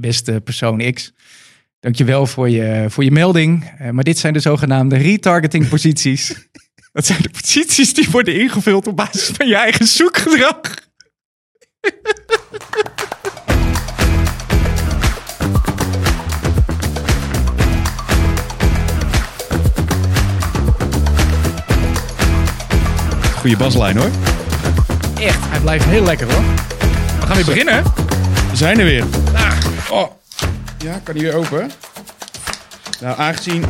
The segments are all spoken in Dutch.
beste persoon X. Dankjewel voor je, voor je melding. Eh, maar dit zijn de zogenaamde retargeting posities. Dat zijn de posities die worden ingevuld op basis van je eigen zoekgedrag. Goede baslijn hoor. Echt, hij blijft heel lekker hoor. We gaan weer beginnen. We zijn er weer. Oh. Ja, kan die weer open? Nou, aangezien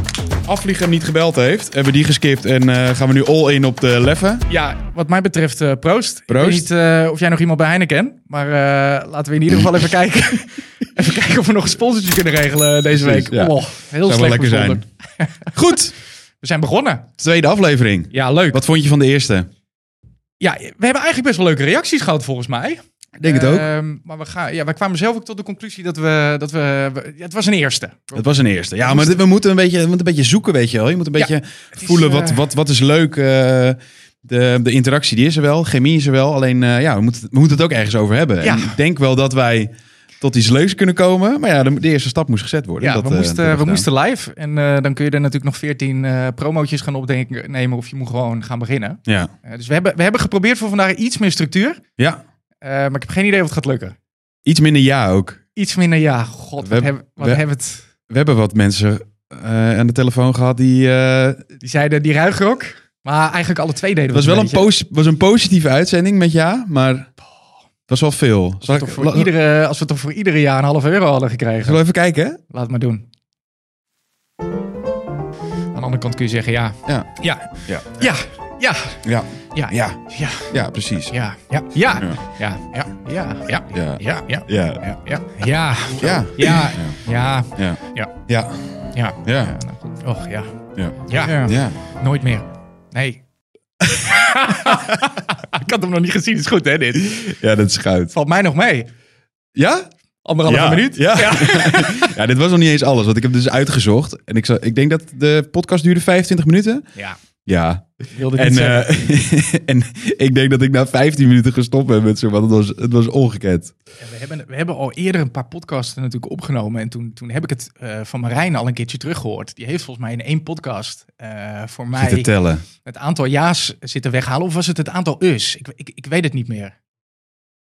Afvlieger hem niet gebeld heeft, hebben we die geskipt en eh, gaan we nu all in op de leffen. Ja, wat mij betreft, eh, proost. Proost. Ik weet niet eh, of jij nog iemand bij Heineken kent, maar eh, laten we in ieder geval even kijken. even kijken of we nog een sponsortje kunnen regelen deze Precies, week. ja. Oh, heel Zou wel slecht lekker bevonden. zijn. Goed, We zijn begonnen. tweede aflevering. Ja, leuk. Wat vond je van de eerste? Ja, we hebben eigenlijk best wel leuke reacties gehad volgens mij. Ik denk het ook. Ehm, maar we, gaan, ja, we kwamen zelf ook tot de conclusie dat we... Dat we, we- ja, het was een eerste. Het was een eerste. Ja, maar dit- we moeten een beetje, we moeten een beetje zoeken, weet je wel. Je moet een beetje is, voelen eh, wat, wat, wat is leuk. eh, de, de interactie die is er wel, chemie is er wel. Alleen eh, ja, we moeten, we moeten het ook ergens over hebben. Ja. En ik denk wel dat wij tot iets leuks kunnen komen. Maar ja, de, de eerste stap moest gezet worden. Ja, Dat, we, eh, moesten, hebben we gedaan. moesten live. En eh, dan kun je er natuurlijk nog veertien promotjes gaan opnemen. Of je moet gewoon gaan beginnen. Ja. Eh, dus we hebben, we hebben geprobeerd voor vandaag iets meer structuur. ja, Eh, maar ik heb geen idee of het gaat lukken. iets minder ja ook. Iets minder, ja, god, We- wat, hebben, wat we- hebben het... We hebben wat mensen eh, aan de telefoon gehad die... eh, Die zeiden, die ruigrok. Maar eigenlijk alle twee deden het was we wel een, beetje. posi- was een positieve uitzending met ja, maar het was wel veel. Zal Toch ik, voor la- iedere, als we toch voor iedere jaar een half euro hadden gekregen. zullen we even kijken? Laat het maar doen. Aan de andere kant kun je zeggen, ja. Ja. Ja. Ja. Ja. Ja. Ja, Ja. ja, Ja. ja precies. Ja. Ja. Ja. Ja. Ja. Ja. Ja. Ja. Ja. Ja. Ja. Ja. Ja. Ja. Ja. Ja. Ja. Ja. Ja. Ja. Ja. nou goed. Och, ja. Ja. Ja. Ja. Nooit meer. Nee. Ik had hem nog niet gezien. Is goed, hè, dit? Ja, dat is goud. Valt mij nog mee. Ja? Anderhalve ja. minuut. Ja. Ja. dit was nog niet eens alles, want ik heb dus uitgezocht. En ik, zal, ik denk dat de podcast duurde 25 minuten. Ja. Ja. Wilde ik En, niet zeggen. eh, en ik denk dat ik na 15 minuten gestopt ben met zo, want het was, het was ongekend. Ja, we, hebben, we hebben al eerder een paar podcasts natuurlijk opgenomen. En toen, toen heb ik het eh, van Marijn al een keertje teruggehoord. Die heeft volgens mij in één podcast eh, voor Zitten mij tellen. het aantal ja's zitten weghalen. Of was het het aantal us? Ik, ik, ik weet het niet meer.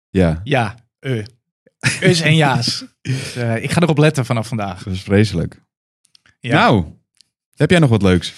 Ja, Ja, eh. Us en ja's. Dus, eh, ik ga erop letten vanaf vandaag. dat was vreselijk. Ja. Nou, heb jij nog wat leuks?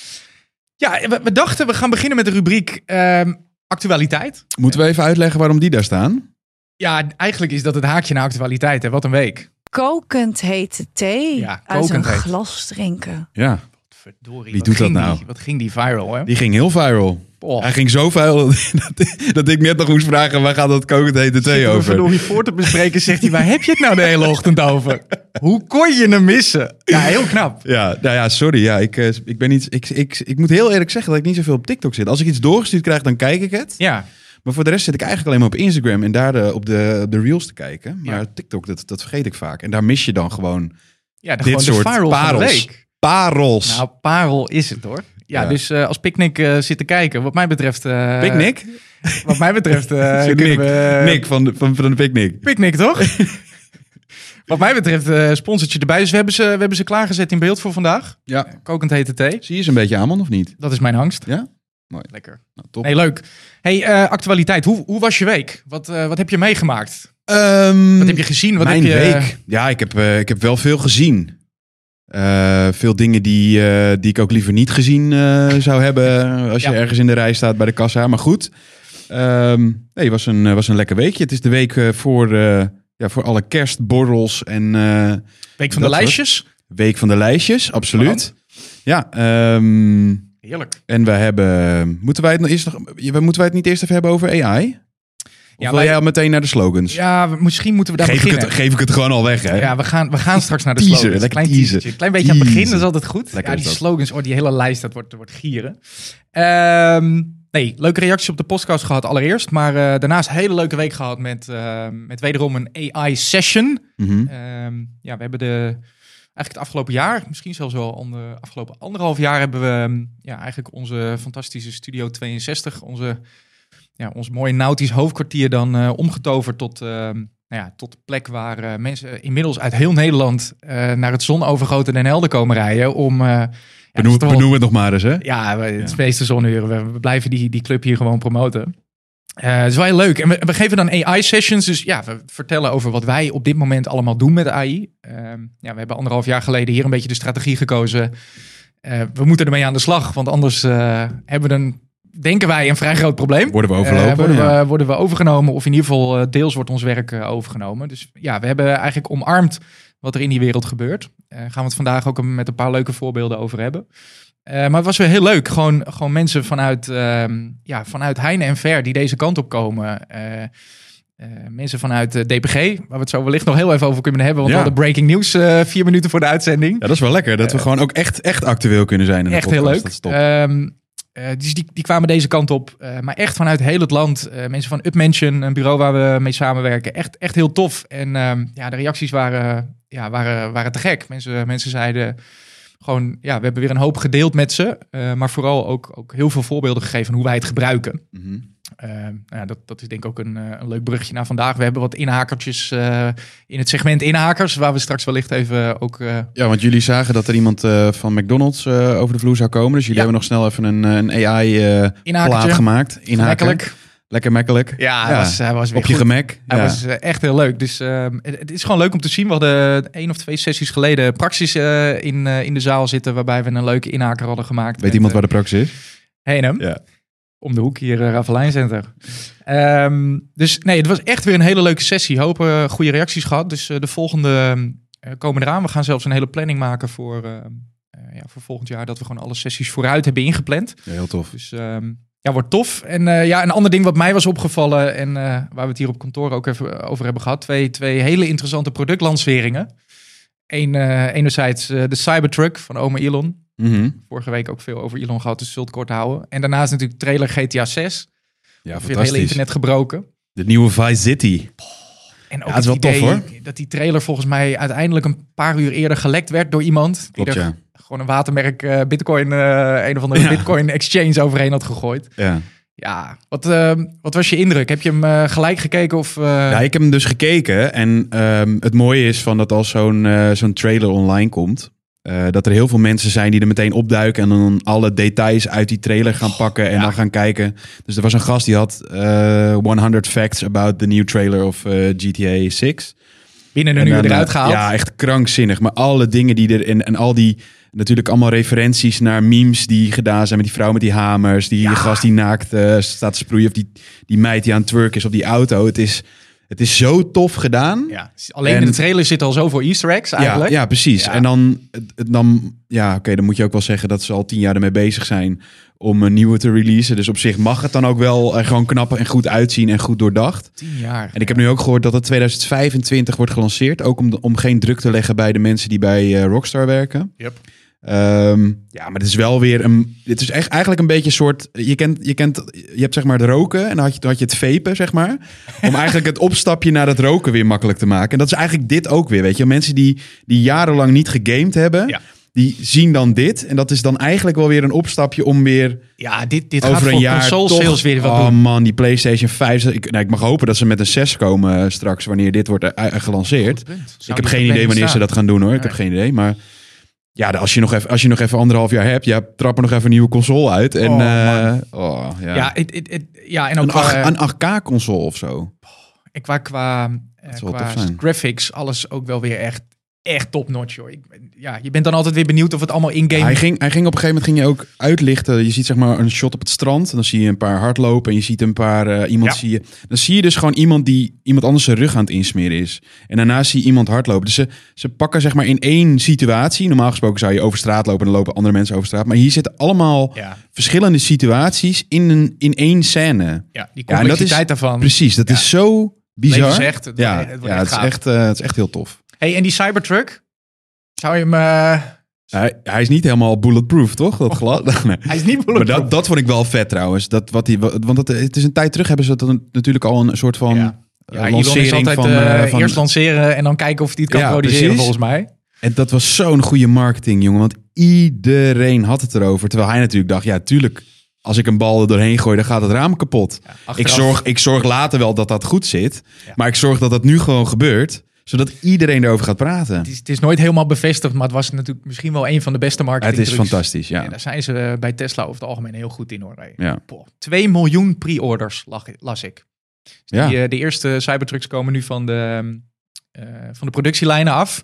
Ja, we, we dachten we gaan beginnen met de rubriek ehm, actualiteit. Moeten we even uitleggen waarom die daar staan? Ja, eigenlijk is dat het haakje naar actualiteit. Hè? Wat een week. kokend hete thee Ja, uit kokend een heet. glas drinken. Ja, Verdorie. Wie wat doet dat ging nou? Die, wat ging die viral, hè? die ging heel viral. Oh, Hij ging zo viral dat, dat ik net nog moest vragen, waar gaat dat kokend hete thee zitten we over? verdorie voor te bespreken, zegt hij. Waar heb je het nou de hele ochtend over? Hoe kon je hem missen? Ja, heel knap. Ja, nou ja, sorry. Ja, ik, eh, ik, ben niet, ik, ik, ik moet heel eerlijk zeggen dat ik niet zoveel op TikTok zit. Als ik iets doorgestuurd krijg, dan kijk ik het. Ja, Maar voor de rest zit ik eigenlijk alleen maar op Instagram en daar eh, op de, op de reels te kijken. Maar Ja. TikTok, dat, dat vergeet ik vaak. En daar mis je dan gewoon ja de, Dit gewoon de soort viral van de parels. week. parels. Nou, parel is het hoor. Ja, Ja. dus eh, als picknick eh, zit te kijken, wat mij betreft... eh, Picnic? Wat mij betreft eh, Nick, kunnen we... Nick van de, van, van de Picnic. Picnic, toch? Wat mij betreft, eh sponsortje erbij. Dus we hebben, ze, we hebben ze klaargezet in beeld voor vandaag. Ja. Kokend hete thee. Zie je ze een beetje aan, man, of niet? Dat is mijn angst. Ja? Lekker. Nou, top. Nee, leuk. Hey, eh, actualiteit. Hoe, hoe was je week? Wat, eh, wat heb je meegemaakt? Ehm, Wat heb je gezien? Wat mijn heb je... week. Ja, ik heb, eh, ik heb wel veel gezien. Eh, veel dingen die, eh, die ik ook liever niet gezien eh, zou hebben. Als je Ja. ergens in de rij staat bij de kassa. Maar goed. Ehm, nee, was een, was een lekker weekje. Het is de week eh, voor, eh, ja, voor alle kerstborrels en eh, Week van Dat de lijstjes? week van de lijstjes. Absoluut. Ja, ehm, Heerlijk. en we hebben. Moeten wij, het nog eerst nog, moeten wij het niet eerst even hebben over AI? Of Ja, wil wij- jij al meteen naar de slogans? Ja, we- misschien moeten we daar geef, ik beginnen. het, geef ik het gewoon al weg, hè? ja, we gaan, we gaan straks naar de Teaser, slogans. lekker Klein teaser. teasertje. Klein beetje aan het begin, dat Teaser. is altijd goed. Lekker ja, is die dat. slogans, oh, die hele lijst, dat wordt, dat wordt gieren. Ehm, nee, leuke reacties op de podcast gehad allereerst. Maar eh, daarnaast een hele leuke week gehad met, eh, met wederom een AI-session. Mhm. Ehm, ja, we hebben de, eigenlijk het afgelopen jaar, misschien zelfs wel ander, afgelopen anderhalf jaar, hebben we ehm, ja, eigenlijk onze fantastische Studio 62, onze, ja, ons mooie nautisch hoofdkwartier dan eh, omgetoverd tot ehm, nou ja, tot de plek waar eh, mensen inmiddels uit heel Nederland eh, naar het zonovergoten Den Helder komen rijden. Om, eh, ja, het Benoem, is toch wel- benoem het nog maar eens, hè? ja, we- het Ja. meeste zonuren. We, we blijven die, die club hier gewoon promoten. Eh het is wel heel leuk. En we, we geven dan AI-sessions. Dus ja, we vertellen over wat wij op dit moment allemaal doen met AI. Ehm, ja, we hebben anderhalf jaar geleden hier een beetje de strategie gekozen. Eh, we moeten ermee aan de slag, want anders eh, hebben we een, denken wij, een vrij groot probleem. Worden we Eh, overlopen? worden, ja. we, worden we overgenomen, of in ieder geval eh, deels wordt ons werk eh, overgenomen. Dus ja, we hebben eigenlijk omarmd wat er in die wereld gebeurt. Eh gaan we het vandaag ook een- met een paar leuke voorbeelden over hebben. Eh, maar het was weer heel leuk. Gewoon, gewoon mensen vanuit, ehm, ja, vanuit heine en ver die deze kant op komen. Eh, eh, mensen vanuit eh, DPG, waar we het zo wellicht nog heel even over kunnen hebben. Want Ja. we hadden breaking news eh, vier minuten voor de uitzending. Ja, dat is wel lekker. Dat we gewoon ook echt, echt actueel kunnen zijn. In de Echt heel podcast. leuk. Dat is top. Ehm, eh, dus die, die kwamen deze kant op. eh, maar echt vanuit heel het land. Eh, mensen van Upmansion, een bureau waar we mee samenwerken. Echt, echt heel tof. En ehm, ja, de reacties waren, ja, waren, waren te gek. Mensen, mensen zeiden gewoon, ja, we hebben weer een hoop gedeeld met ze. eh, maar vooral ook, ook heel veel voorbeelden gegeven van hoe wij het gebruiken. Mhm. Eh, nou ja, dat, dat is denk ik ook een, eh, een leuk brugje naar vandaag. We hebben wat inhakertjes eh, in het segment inhakers. Waar we straks wellicht even ook... eh, Ja, want jullie zagen dat er iemand eh, van McDonald's eh, over de vloer zou komen. Dus jullie Ja. hebben nog snel even een, eh, een AI-plaat inhakertje. gemaakt. Inhaker. Makkelijk. Lekker makkelijk. Ja, Hij, Ja. was, hij was weer Op je goed. gemak. Hij Ja. was eh, echt heel leuk. Dus ehm, het, het is gewoon leuk om te zien. We hadden eh, één of twee sessies geleden praxis eh, in, eh, in de zaal zitten. Waarbij we een leuke inhaker hadden gemaakt. eh, Weet iemand waar de praxis is? Heenem. Ja. Om de hoek hier, uh, Ravelijn Center. Ehm, dus nee, het was echt weer een hele leuke sessie. Hopen eh, goede reacties gehad. Dus eh, de volgende eh, komen eraan. We gaan zelfs een hele planning maken voor, ehm, eh, ja, voor volgend jaar. Dat we gewoon alle sessies vooruit hebben ingepland. Ja, heel tof. Dus ehm, ja, wordt tof. En eh, ja, een ander ding wat mij was opgevallen en eh, waar we het hier op kantoor ook even eh, over hebben gehad. Twee, twee hele interessante productlanceringen. Eén, eh, enerzijds eh, de Cybertruck van oma Elon. Mhm. Vorige week ook veel over Elon gehad, dus zult kort houden. En daarnaast natuurlijk trailer GTA 6. Ja, Weer het hele fantastisch. internet gebroken. De nieuwe Vice City. En ook Ja, het is wel het idee tof, dat die trailer volgens mij uiteindelijk een paar uur eerder gelekt werd door iemand. Die Klopt, er ja. gewoon een watermerk eh, bitcoin, eh, een of andere Ja. bitcoin exchange overheen had gegooid. ja. Ja, wat, ehm, wat was je indruk? Heb je hem eh, gelijk gekeken of... eh, Ja, ik heb hem dus gekeken. En ehm, het mooie is van dat als zo'n eh, zo'n trailer online komt. eh, dat er heel veel mensen zijn die er meteen opduiken en dan alle details uit die trailer gaan pakken en ja. dan gaan kijken. Dus er was een gast die had eh 100 facts about the new trailer of eh, GTA 6. binnen een En uur dan, eruit eh, gehaald? Ja, echt krankzinnig. Maar alle dingen die er en, en al die natuurlijk allemaal referenties naar memes die gedaan zijn met die vrouw met die hamers, die Ja. gast die naakt eh, staat te sproeien of die, die meid die aan het twerk is op die auto. Het is, het is zo tof gedaan. Ja, Alleen En- in de trailer zitten al zoveel easter eggs Ja, eigenlijk. ja, precies. Ja. En dan, het- het- dan, ja, oké, dan moet je ook wel zeggen dat ze al tien jaar ermee bezig zijn om een nieuwe te releasen. Dus op zich mag het dan ook wel er gewoon knap en goed uitzien en goed doordacht. Tien jaar. En ik heb nu ook gehoord dat het 2025 wordt gelanceerd. Ook om, de- om geen druk te leggen bij de mensen die bij eh, Rockstar werken. Yep. Ehm, ja, maar het is wel weer een. Het is echt, eigenlijk een beetje een soort. Je, kent, je, kent, je hebt zeg maar het roken en dan had je, dan had je het vapen, zeg maar. Om eigenlijk het opstapje naar het roken weer makkelijk te maken. En dat is eigenlijk dit ook weer. Weet je, mensen die, die jarenlang niet gegamed hebben. Ja. Die zien dan dit. En dat is dan eigenlijk wel weer een opstapje om weer Ja, dit, dit gaat over een voor jaar console toch- sales weer wat oh, doen. man, die PlayStation 5. Ik, nou, ik mag hopen dat ze met een 6 komen eh, straks, wanneer dit wordt eh, eh, gelanceerd. ik dus heb geen idee wanneer ze dat gaan doen hoor. Ik Nee. heb geen idee. Maar ja, als je nog even, als je nog even anderhalf jaar hebt, ja, trap er nog even een nieuwe console uit. En, Oh, eh, oh, ja. Ja, eh, het- het- het- ja en ook een, qua, 8, een 8K console of zo. en qua, qua, eh, Dat zal qua tof zijn. graphics, alles ook wel weer echt, echt top notch. Joh. Ik, ja, je bent dan altijd weer benieuwd of het allemaal in-game... Hij ging, hij ging op een gegeven moment ging je ook uitlichten. Je ziet zeg maar een shot op het strand. En dan zie je een paar hardlopen. En je ziet een paar eh, iemand Ja. zie je. Dan zie je dus gewoon iemand die iemand anders zijn rug aan het insmeren is. En daarna zie je iemand hardlopen. Dus ze, ze pakken zeg maar in één situatie. Normaal gesproken zou je over straat lopen en dan lopen andere mensen over straat. Maar hier zitten allemaal ja, verschillende situaties in, een, in één scène. ja, die Ja, en dat is complexiteit daarvan. Precies, dat Ja. is zo bizar. Leven zegt, het ja, wordt- het wordt ja echt het, is gaaf. echt, eh, het is echt heel tof. Hey, en die Cybertruck? Zou je hem... eh, Hij, hij is niet helemaal bulletproof, toch? Dat glad. Nee. hij is niet Maar bulletproof. dat, dat vond ik wel vet trouwens. Dat, wat die, wa- want dat, het is een tijd terug hebben ze dat dan natuurlijk al een soort van Ja. eh, Ja, Elon is lancering altijd van... eh, eh, van- eerst lanceren en dan kijken of hij het kan Ja, produceren, precies. volgens mij. En dat was zo'n goede marketing, jongen. Want iedereen had het erover. Terwijl hij natuurlijk dacht, ja, tuurlijk als ik een bal er doorheen gooi, dan gaat het raam kapot. ik, Achteraf- zorg, ik zorg later wel dat dat goed zit. Ja. Maar ik zorg dat dat nu gewoon gebeurt. Zodat iedereen erover gaat praten. Het is, het is nooit helemaal bevestigd, maar het was natuurlijk misschien wel een van de beste Het marketing. is fantastisch, ja. daar zijn ze eh, bij Tesla over het algemeen heel goed in hoor. Hey. Ja. Boah, 2 miljoen pre-orders lag- las ik. Dus Ja. die, eh, de eerste Cybertrucks komen nu van de, eh, van de productielijnen af.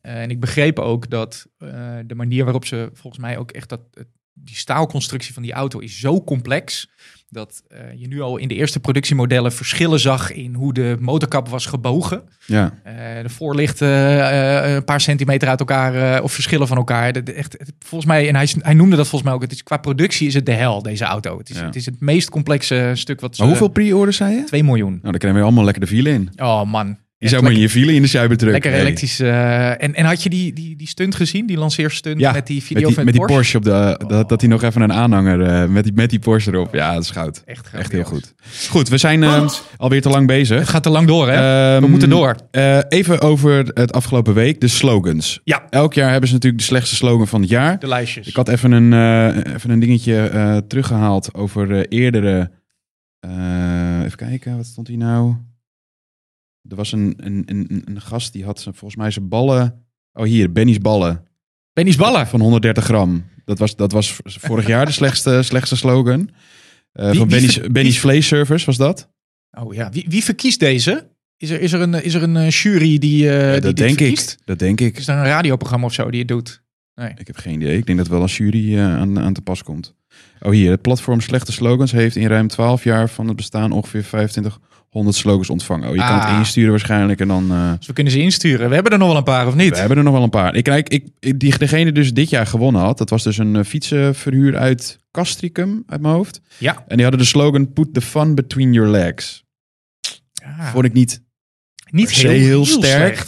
Eh, en ik begreep ook dat eh, de manier waarop ze volgens mij ook echt dat, het- die staalconstructie van die auto is zo complex. Dat eh, je nu al in de eerste productiemodellen verschillen zag in hoe de motorkap was gebogen. Ja. Eh, de voorlichten eh, een paar centimeter uit elkaar eh, of verschillen van elkaar. De, de- echt, het- volgens mij, en hij, s- hij noemde dat volgens mij ook, het is, qua productie is het de hel, deze auto. Het is, Ja. het, is het meest complexe stuk wat ze... Maar hoeveel pre-orders zei je? Nou, 2 miljoen. dan krijgen we allemaal lekker de file in. Oh man. Je Echt zou maar in je file in de Cybertruck. lekker Hey. elektrisch. eh, en, en had je die, die, die stunt gezien, die lanceerstunt Ja, met die Met video die, van met die Porsche, op de, Oh. dat, dat hij nog even een aanhanger eh, met, die, met die Porsche erop. Ja, dat is goud. Echt, Echt grandioos. heel goed. Goed, we zijn eh, alweer te lang Het bezig. gaat te lang door, hè? Ehm, We moeten door. eh, even over het afgelopen week, de slogans. Ja. Elk jaar hebben ze natuurlijk de slechtste slogan van het jaar. De lijstjes. Ik had even een, eh, even een dingetje eh, teruggehaald over eh, eerdere. eh, even kijken, wat stond hier nou? Er was een, een, een, een- een gast die had zijn- volgens mij zijn ballen. Oh, hier, Benny's ballen. Benny's ballen. Van 130 gram. Dat was, dat was vorig jaar de slechtste, slechtste slogan. Eh, Wie- van wie Benny's, ver- Benny's wie- Vleesservice was dat? Oh ja, wie, wie verkiest deze? Is er, is er een, is er een eh, jury die, eh die dat dit denk verkiest? ik. Dat denk ik. Is er een radioprogramma of zo die het doet? Ik heb geen idee. Ik denk dat wel een jury eh, aan, aan te pas komt. Oh hier, het platform Slechte Slogans heeft in ruim 12 jaar van het bestaan ongeveer 2500 slogans ontvangen. Oh, je kan Ah. het insturen waarschijnlijk en dan... eh, Dus we kunnen ze insturen. We hebben er nog wel een paar, of we niet? hebben er nog wel een paar. Ik, kijk, ik, ik- die, degene dus dit jaar gewonnen had, dat was dus een eh, fietsenverhuur uit Castricum, uit mijn hoofd. Ja. En die hadden de slogan Put the fun between your legs. Ja, Vond ik niet, Ah, niet per se heel sterk.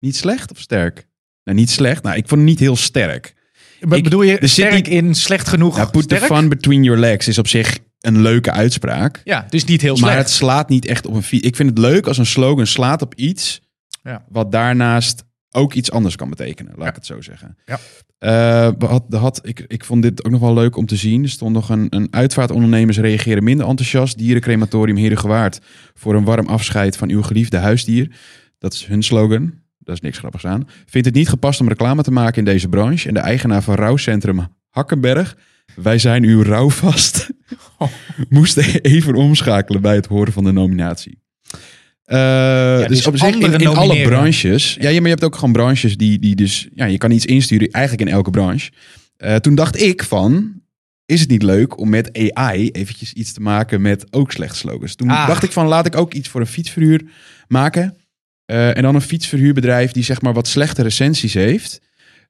niet slecht of sterk? Nou, niet slecht. Nou, ik vond hem niet heel sterk. Maar Ik- bedoel je er zit sterk niet- in slecht genoeg? Nou, put Oh, sterk? the fun between your legs is op zich een leuke uitspraak. Ja, dus niet heel Maar slecht. het slaat niet echt op een fiets. Ik vind het leuk als een slogan slaat op iets Ja. wat daarnaast ook iets anders kan betekenen. Laat Ja. ik het zo zeggen. Ja. Eh, we had, er had, ik, ik vond dit ook nog wel leuk om te zien. Er stond nog een, een uitvaartondernemers reageren minder enthousiast. Dierencrematorium Herengewaard voor een warm afscheid van uw geliefde huisdier. Dat is hun slogan. Daar is niks grappigs aan. Vindt het niet gepast om reclame te maken in deze branche? En de eigenaar van rouwcentrum Hakkenberg, wij zijn uw rouwvast, Oh. moest even omschakelen bij het horen van de nominatie. Eh, dus dus op zich in, anderen in alle nomineren. branches. Ja, ja, maar je hebt ook gewoon branches die, die dus... Ja, je kan iets insturen, eigenlijk in elke branche. Eh, toen dacht ik van... Is het niet leuk om met AI eventjes iets te maken met ook slecht slogans? Toen Ah. dacht ik van, laat ik ook iets voor een fietsverhuur maken. Eh, en dan een fietsverhuurbedrijf die zeg maar wat slechte recensies heeft.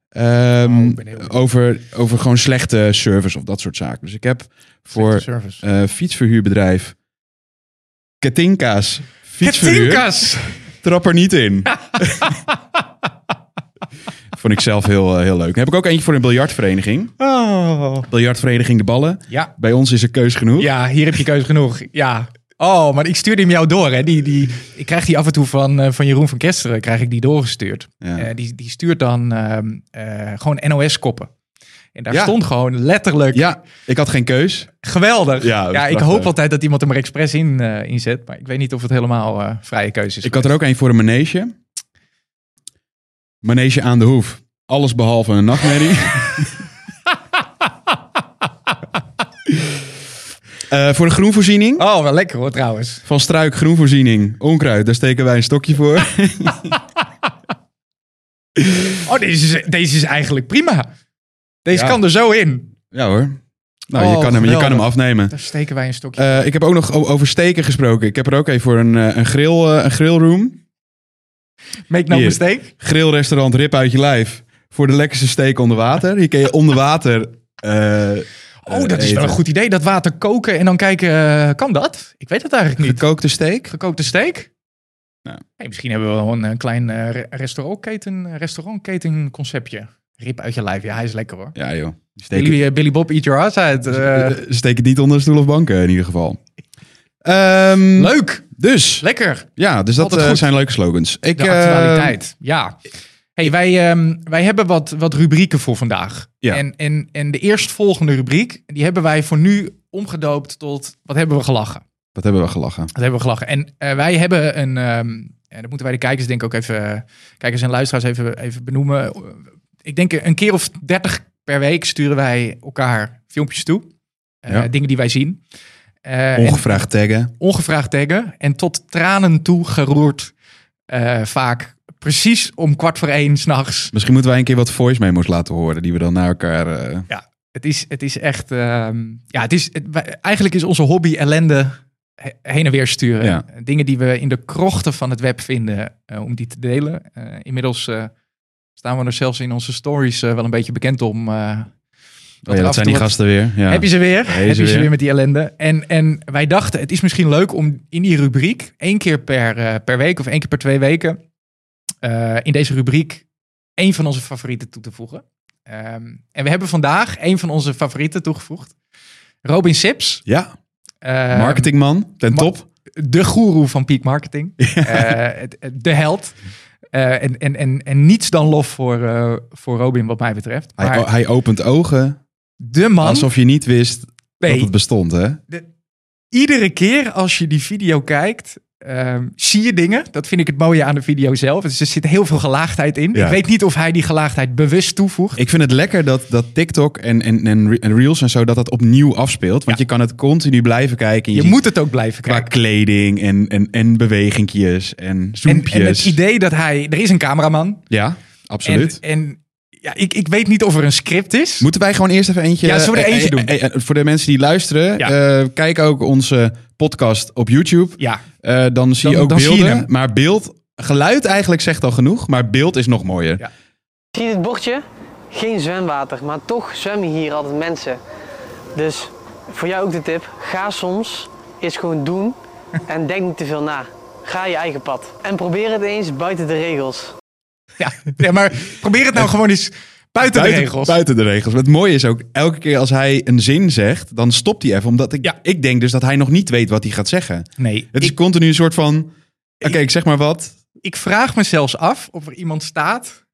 Ehm, Oh, ik ben heel benieuwd. over, over gewoon slechte service of dat soort zaken. Dus ik heb voor service. eh fietsverhuurbedrijf Katinka's fietsverhuur. Katinka's! Trap er niet in. Vond ik zelf heel, eh, heel leuk. Dan heb ik ook eentje voor een biljartvereniging. Oh. Biljartvereniging De Ballen. Ja. Bij ons is er keus genoeg. ja, hier heb je keuze genoeg. Ja. Oh, maar ik stuurde hem jou door. Hè. Die, die, ik krijg die af en toe van, eh, van Jeroen van Kesteren krijg ik die doorgestuurd. Ja. Eh, die, die stuurt dan ehm, eh, gewoon NOS-koppen. En daar Ja. stond gewoon letterlijk Ja, ik had geen keus. Geweldig. Ja, Ja, dat is ik prachtig. hoop altijd dat iemand hem er expres in eh, inzet. Maar ik weet niet of het helemaal eh, vrije keuze is. Dus Ik had er ook een voor een manege. Manege aan de hoef. Alles behalve een nachtmerrie. Eh, voor de groenvoorziening. Oh, wel lekker hoor trouwens. Van struik groenvoorziening. Onkruid, daar steken wij een stokje voor. Oh, deze is, deze is eigenlijk prima. Deze Ja. kan er zo in. ja hoor. Nou, Oh, je, kan hem, je kan hem geweldig. afnemen. Daar steken wij een stokje. Eh, ik heb ook nog o- over steken gesproken. Ik heb er ook even voor een, eh, een, grill, eh, een grillroom. Make no Eh, hier. mistake. Grillrestaurant Rip uit je lijf. Voor de lekkerste steek onder water. Hier kun je onder water... eh, Oh, dat is eten. wel een goed idee. Dat water koken en dan kijken, eh, kan dat? Ik weet het eigenlijk niet. gekookte steek. Gekookte steak? Ja. Hey, misschien hebben we wel een eh, klein eh, re- restaurantketen, restaurantketenconceptje. conceptje. Rip uit je lijf. Ja, hij is lekker hoor. Ja joh. Die steek- Billy, eh, Billy Bob, eat your ass uit. Eh, Eh, steek het niet onder een stoel of banken in ieder geval. Ehm, leuk. Dus, Lekker. ja, dus dat Altijd eh, goed. zijn leuke slogans. Ik, De eh, actualiteit, ja. Hey, wij, ehm, wij hebben wat, wat rubrieken voor vandaag. Ja. En, en, en de eerstvolgende rubriek, die hebben wij voor nu omgedoopt tot wat hebben we gelachen. Wat hebben we gelachen? Wat hebben we gelachen. En eh, wij hebben een, ehm, en dat moeten wij de kijkers denk ik ook even, kijkers en luisteraars even, even benoemen. Ik denk een keer of dertig per week sturen wij elkaar filmpjes toe. Eh, Ja. Dingen die wij zien. Eh, en- Ongevraagd taggen. ongevraagd taggen en tot tranen toe geroerd. eh, vaak precies om kwart voor één s'nachts. Misschien moeten wij een keer wat voice memo's laten horen, die we dan naar elkaar... eh, Het is, het is echt. ehm, ja, het is, het- wij- eigenlijk is onze hobby ellende he- heen en weer sturen. Eh, Ja. Dingen die we in de krochten van het web vinden, eh, om die te delen. Eh, inmiddels eh, staan we er zelfs in onze stories eh, wel een beetje bekend om. eh, oh dat er ja, af en dat zijn toe die wat- gasten weer. Ja. Heb je ze weer? Heb je Heb ze je ze weer? weer met die ellende? En, en wij dachten, het is misschien leuk om in die rubriek één keer per, eh, per week of één keer per twee weken eh, in deze rubriek één van onze favorieten toe te voegen. Ehm, en we hebben vandaag één van onze favorieten toegevoegd. Robin Sips. Ja, eh, marketingman. Ten ma- top. De goeroe van Peak Marketing. Eh, het- het- de held. Eh, en, en, en, en niets dan lof voor, eh, voor Robin wat mij betreft. Hij, Maar hij opent ogen, de man... alsof je niet wist dat Nee, het bestond, hè? iedere keer als je die video kijkt, ehm, zie je dingen. Dat vind ik het mooie aan de video zelf. Dus er zit heel veel gelaagdheid in. Ja. Ik weet niet of hij die gelaagdheid bewust toevoegt. Ik vind het lekker dat, dat TikTok en, en, en, Re- en Reels en zo dat dat opnieuw afspeelt. Want je kan het continu blijven kijken. Je ziet moet het ook blijven qua kijken. kleding en, en, en bewegingjes en En, zoompjes. en het idee dat hij... Er is een cameraman. Ja, absoluut. En, en ja, ik, ik weet niet of er een script is. Moeten wij gewoon eerst even eentje... Ja, zullen we er eh, eentje eh, doen? eh, eh, voor de mensen die luisteren, Ja. eh, kijk ook onze podcast op YouTube. ja, Eh, dan zie je Dan- ook dan zie je beelden. hem. maar beeld... Geluid eigenlijk zegt al genoeg, maar beeld is nog mooier. Ja. Zie je dit bordje? Geen zwemwater, maar toch zwemmen hier altijd mensen. Dus voor jou ook de tip: ga soms eens gewoon doen en denk niet te veel na. Ga je eigen pad en probeer het eens buiten de regels. ja. ja, maar probeer het nou gewoon eens buiten, de regels. Buiten de regels. Maar het mooie is ook, elke keer als hij een zin zegt, dan stopt hij even. Omdat ik, Ja. ik denk dus dat hij nog niet weet wat hij gaat zeggen. Nee, Het is ik, continu een soort van, oké, ik zeg maar wat. ik vraag me zelfs af of er iemand staat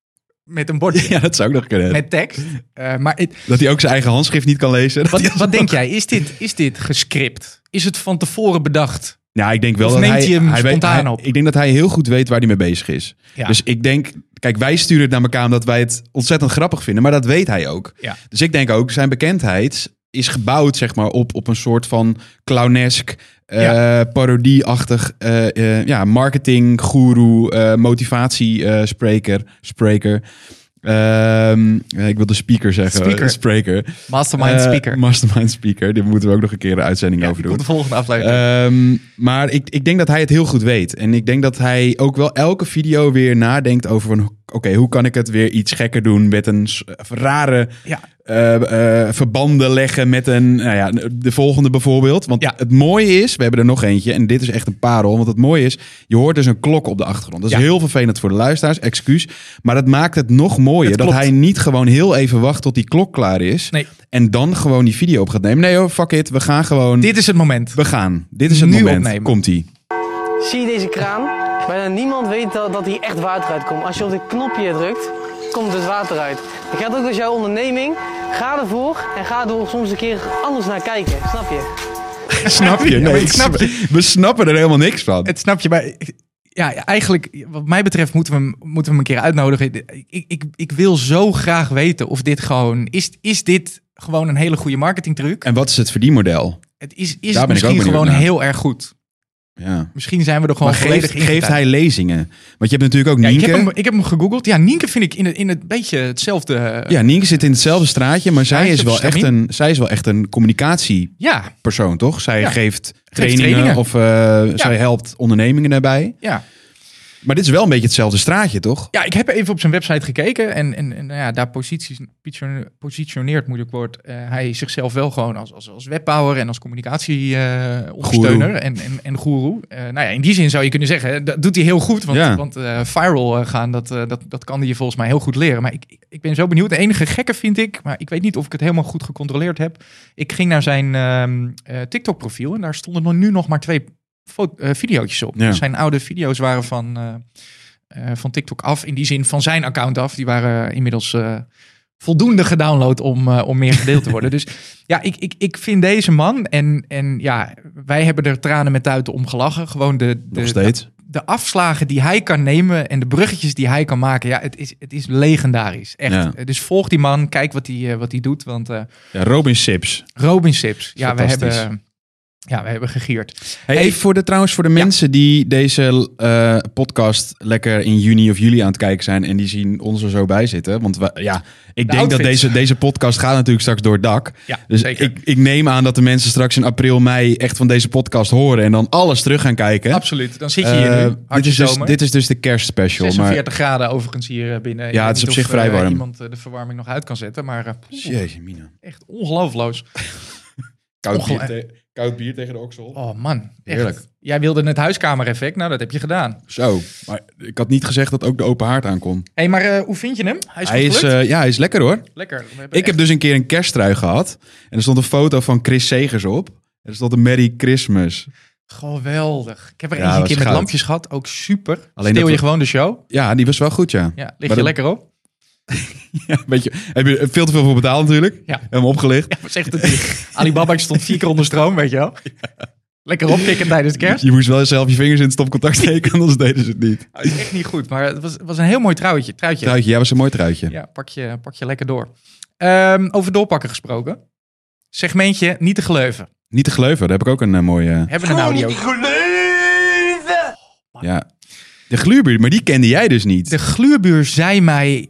met een bordje, Ja, dat zou ook nog kunnen. met tekst. Eh, maar het, Dat hij ook zijn eigen handschrift niet kan lezen. Wat, wat denk jij? Is dit, is dit gescript? Is het van tevoren bedacht? Nou, ik denk wel Of dat neemt hij, hij hem weet- spontaan hij- op? Ik denk dat hij heel goed weet waar hij mee bezig is. Ja. Dus ik denk, kijk, wij sturen het naar elkaar omdat wij het ontzettend grappig vinden, maar dat weet hij ook. Ja. Dus ik denk ook, zijn bekendheid is gebouwd zeg maar, op, op een soort van clownesk, eh, parodieachtig eh, eh, ja, marketing, guru, motivatiespreker. spreker. Ehm, eh, ik wil de speaker zeggen. Speaker. Spreker. Mastermind Eh, speaker. mastermind speaker. Dit moeten we ook nog een keer een uitzending ja, over die doen. komt de volgende aflevering. Ehm, maar ik, ik denk dat hij het heel goed weet. En ik denk dat hij ook wel elke video weer nadenkt over... van, oké, hoe kan ik het weer iets gekker doen met een s- rare ja. eh, eh, verbanden leggen met een... Nou ja, de volgende bijvoorbeeld. Want Ja. het mooie is, we hebben er nog eentje en dit is echt een parel. Want het mooie is, je hoort dus een klok op de achtergrond. Dat is Ja. heel vervelend voor de luisteraars, excuus. Maar dat maakt het nog mooier. Het dat klopt. hij niet gewoon heel even wacht tot die klok klaar is... Nee, En dan gewoon die video op gaat nemen. Nee hoor, fuck it. We gaan gewoon... dit is het moment. We gaan. Dit is het Nu moment. opnemen. Komt ie. Zie je deze kraan? Bijna niemand weet dat, dat hier echt water uitkomt. Als je op dit knopje drukt, komt het water uit. Dat geldt ook als jouw onderneming. Ga ervoor en ga er soms een keer anders naar kijken. Snap je? Snap je? Ja, maar Nee, ik ik snap snap We snappen er helemaal niks van. Het snap je, maar ik- ja, eigenlijk, wat mij betreft, moeten we hem, moeten we hem een keer uitnodigen. Ik, ik, ik wil zo graag weten of dit gewoon. Is, is dit gewoon een hele goede marketingtruc? En wat is het verdienmodel? Het is, is ben het ik ook misschien benieuwd gewoon naar. heel erg goed. Ja. Misschien zijn we er gewoon Maar geeft, volledig in geeft getuigd. hij lezingen? Want je hebt natuurlijk ook Ja, ik, Nienke. heb hem, ik heb hem gegoogeld. Ja, Nienke vind ik in het, in het beetje hetzelfde. eh, Ja, Nienke zit in hetzelfde straatje, maar zij Straatje is, wel of echt een, zij is wel echt een communicatiepersoon, ja, toch? Zij Ja. geeft trainingen, trainingen. of eh, zij helpt ondernemingen daarbij. ja. Maar dit is wel een beetje hetzelfde straatje, toch? Ja, ik heb even op zijn website gekeken en, en, en nou ja, daar posities, position- positioneert, moeilijk woord, eh, hij zichzelf wel gewoon als, als, als webbouwer en als communicatieondersteuner en, en, en goeroe. Eh, nou ja, in die zin zou je kunnen zeggen, dat doet hij heel goed, want, Ja. want eh, viral eh, gaan, dat, eh, dat, dat kan hij je volgens mij heel goed leren. Maar ik, ik- ik ben zo benieuwd. De enige gekke vind ik, maar ik weet niet of ik het helemaal goed gecontroleerd heb. Ik ging naar zijn ehm, eh, TikTok profiel en daar stonden nog- nu nog maar twee fo- eh, videootjes op. Ja. Dus zijn oude video's waren van... eh, eh, van TikTok af. In die zin van zijn account af. Die waren inmiddels eh, voldoende gedownload om, eh, om meer gedeeld te worden. Dus ja, ik, ik, ik vind deze man. En, en ja, wij hebben er tranen met tuiten om gelachen. Gewoon de, de, Nog steeds. de afslagen die hij kan nemen en de bruggetjes die hij kan maken. Ja, het is, het is legendarisch. Echt. Ja. Eh, Dus volg die man, kijk wat hij eh, wat hij doet. Want eh, Ja, Robin Sips. Robin Sips, ja, we Fantastisch. hebben, ja, we hebben gegierd. Hey, Hey. even voor de, trouwens voor de mensen die deze eh, podcast lekker in juni of juli aan het kijken zijn. En die zien ons er zo bij zitten. Want we- ja, ik denk dat outfits. deze, deze podcast gaat natuurlijk straks door het dak. Ja, Dus zeker. ik, ik neem aan dat de mensen straks in april, mei echt van deze podcast horen. En dan alles terug gaan kijken. Absoluut. Dan zit je hier Eh, nu. dit, Hartje is dus, zomer. dit is dus de kerstspecial. Maar, 46 graden overigens hier eh, binnen. Ik Ja, weet het is niet op zich of, vrij eh, warm. iemand eh, de verwarming nog uit kan zetten, maar eh, poeh, jeetje, Mina. echt ongeloofloos. Koud bier, Ongel- te- koud bier tegen de oksel. Oh man, echt. Heerlijk. Jij wilde het huiskamereffect, nou dat heb je gedaan. Zo, maar ik had niet gezegd dat ook de open haard aankon. hey, maar eh, hoe vind je hem? Hij is, Hij goed is, gelukt? eh, ja, hij is lekker hoor. Lekker. We hebben Ik heb echt- dus een keer een kersttrui gehad. En er stond een foto van Chris Segers op. En er stond een Merry Christmas. Geweldig. Ik heb er Ja, eens een was keer met goud. lampjes gehad, ook super. Alleen Alleen Steel dat je we- gewoon de show. Ja, die was wel goed, ja. Ja, lig Maar je dat- lekker op. Weet je, heb je er veel te veel voor betaald natuurlijk. Ja. Hem opgelicht. Wat zegt het hier? Alibaba ik stond vier keer onder stroom, weet je wel. Lekker opkikken tijdens de kerst. Je moest wel zelf je vingers in het stopcontact steken, anders deden ze het niet. Oh, is echt niet goed, maar het was, het was een heel mooi trouwtje. Truitje. Truitje, jij was een mooi truitje. Ja, pak je, pak je lekker door. Ehm, over doorpakken gesproken. Segmentje niet te geleuven. Niet te geleuven, daar heb ik ook een eh, mooie... Hebben we nou een audio. Ja. De gluurbuur, maar die kende jij dus niet. De gluurbuur zei mij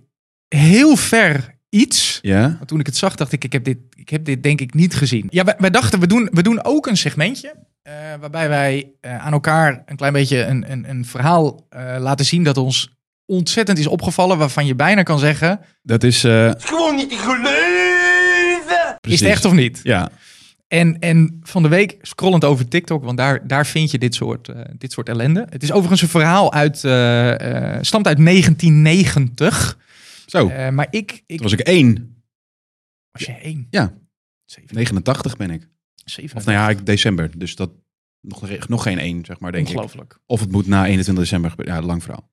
heel ver iets. Ja? Maar toen ik het zag, dacht ik, ik heb dit, ik heb dit denk ik niet gezien. Ja, wij, wij dachten, we doen, we doen ook een segmentje. eh, waarbij wij eh, aan elkaar een klein beetje een, een, een verhaal eh, laten zien dat ons ontzettend is opgevallen. Waarvan je bijna kan zeggen, Dat is... eh, Gewoon niet te geloven! is precies. het echt of niet? Ja. En, en van de week scrollend over TikTok, want daar, daar vind je dit soort, eh, dit soort ellende. Het is overigens een verhaal uit, eh, eh, stamt uit 1990. Zo, Eh, maar ik, ik toen was ik één. was je één. Ja. 7, 89 ben ik. Of nou ja, ik, december. Dus dat... Nog, ge- nog geen één, zeg maar, denk ik. Ongelooflijk. Of het moet na 21 december gebeuren. Ja, lang verhaal.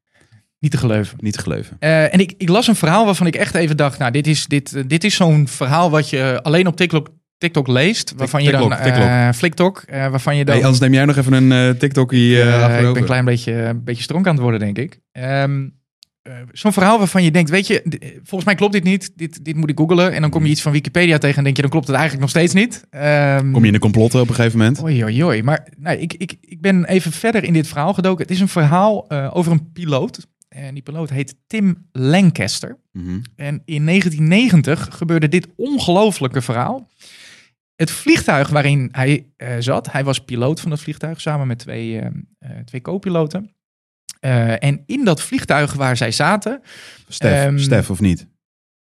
Niet te geloven. Niet te geleuven. Eh, en ik, ik las een verhaal waarvan ik echt even dacht, nou, dit is, dit, eh, dit is zo'n verhaal wat je eh, alleen op TikTok, TikTok leest. Waarvan je dan, TikTok, TikTok. eh, Flicktok, eh, waarvan je dan... Hey, anders neem jij nog even een eh, TikTok hier eh, Eh, ik achterover. ben een klein beetje, een beetje stronk aan het worden, denk ik. Ehm, eh, Zo'n verhaal waarvan je denkt, weet je, d- eh, volgens mij klopt dit niet. Dit, dit moet ik googlen. En dan kom je iets van Wikipedia tegen en denk je, dan klopt het eigenlijk nog steeds niet. Ehm, Kom je in de complotten op een gegeven moment? Oei, oei, oei. Maar nou, ik, ik, ik ben even verder in dit verhaal gedoken. Het is een verhaal eh, over een piloot. En die piloot heet Tim Lancaster. Mhm. En in 1990 gebeurde dit ongelooflijke verhaal. Het vliegtuig waarin hij eh, zat, hij was piloot van dat vliegtuig samen met twee, eh eh, twee co-piloten. Eh, en in dat vliegtuig waar zij zaten, Stef, Ehm, Stef of niet?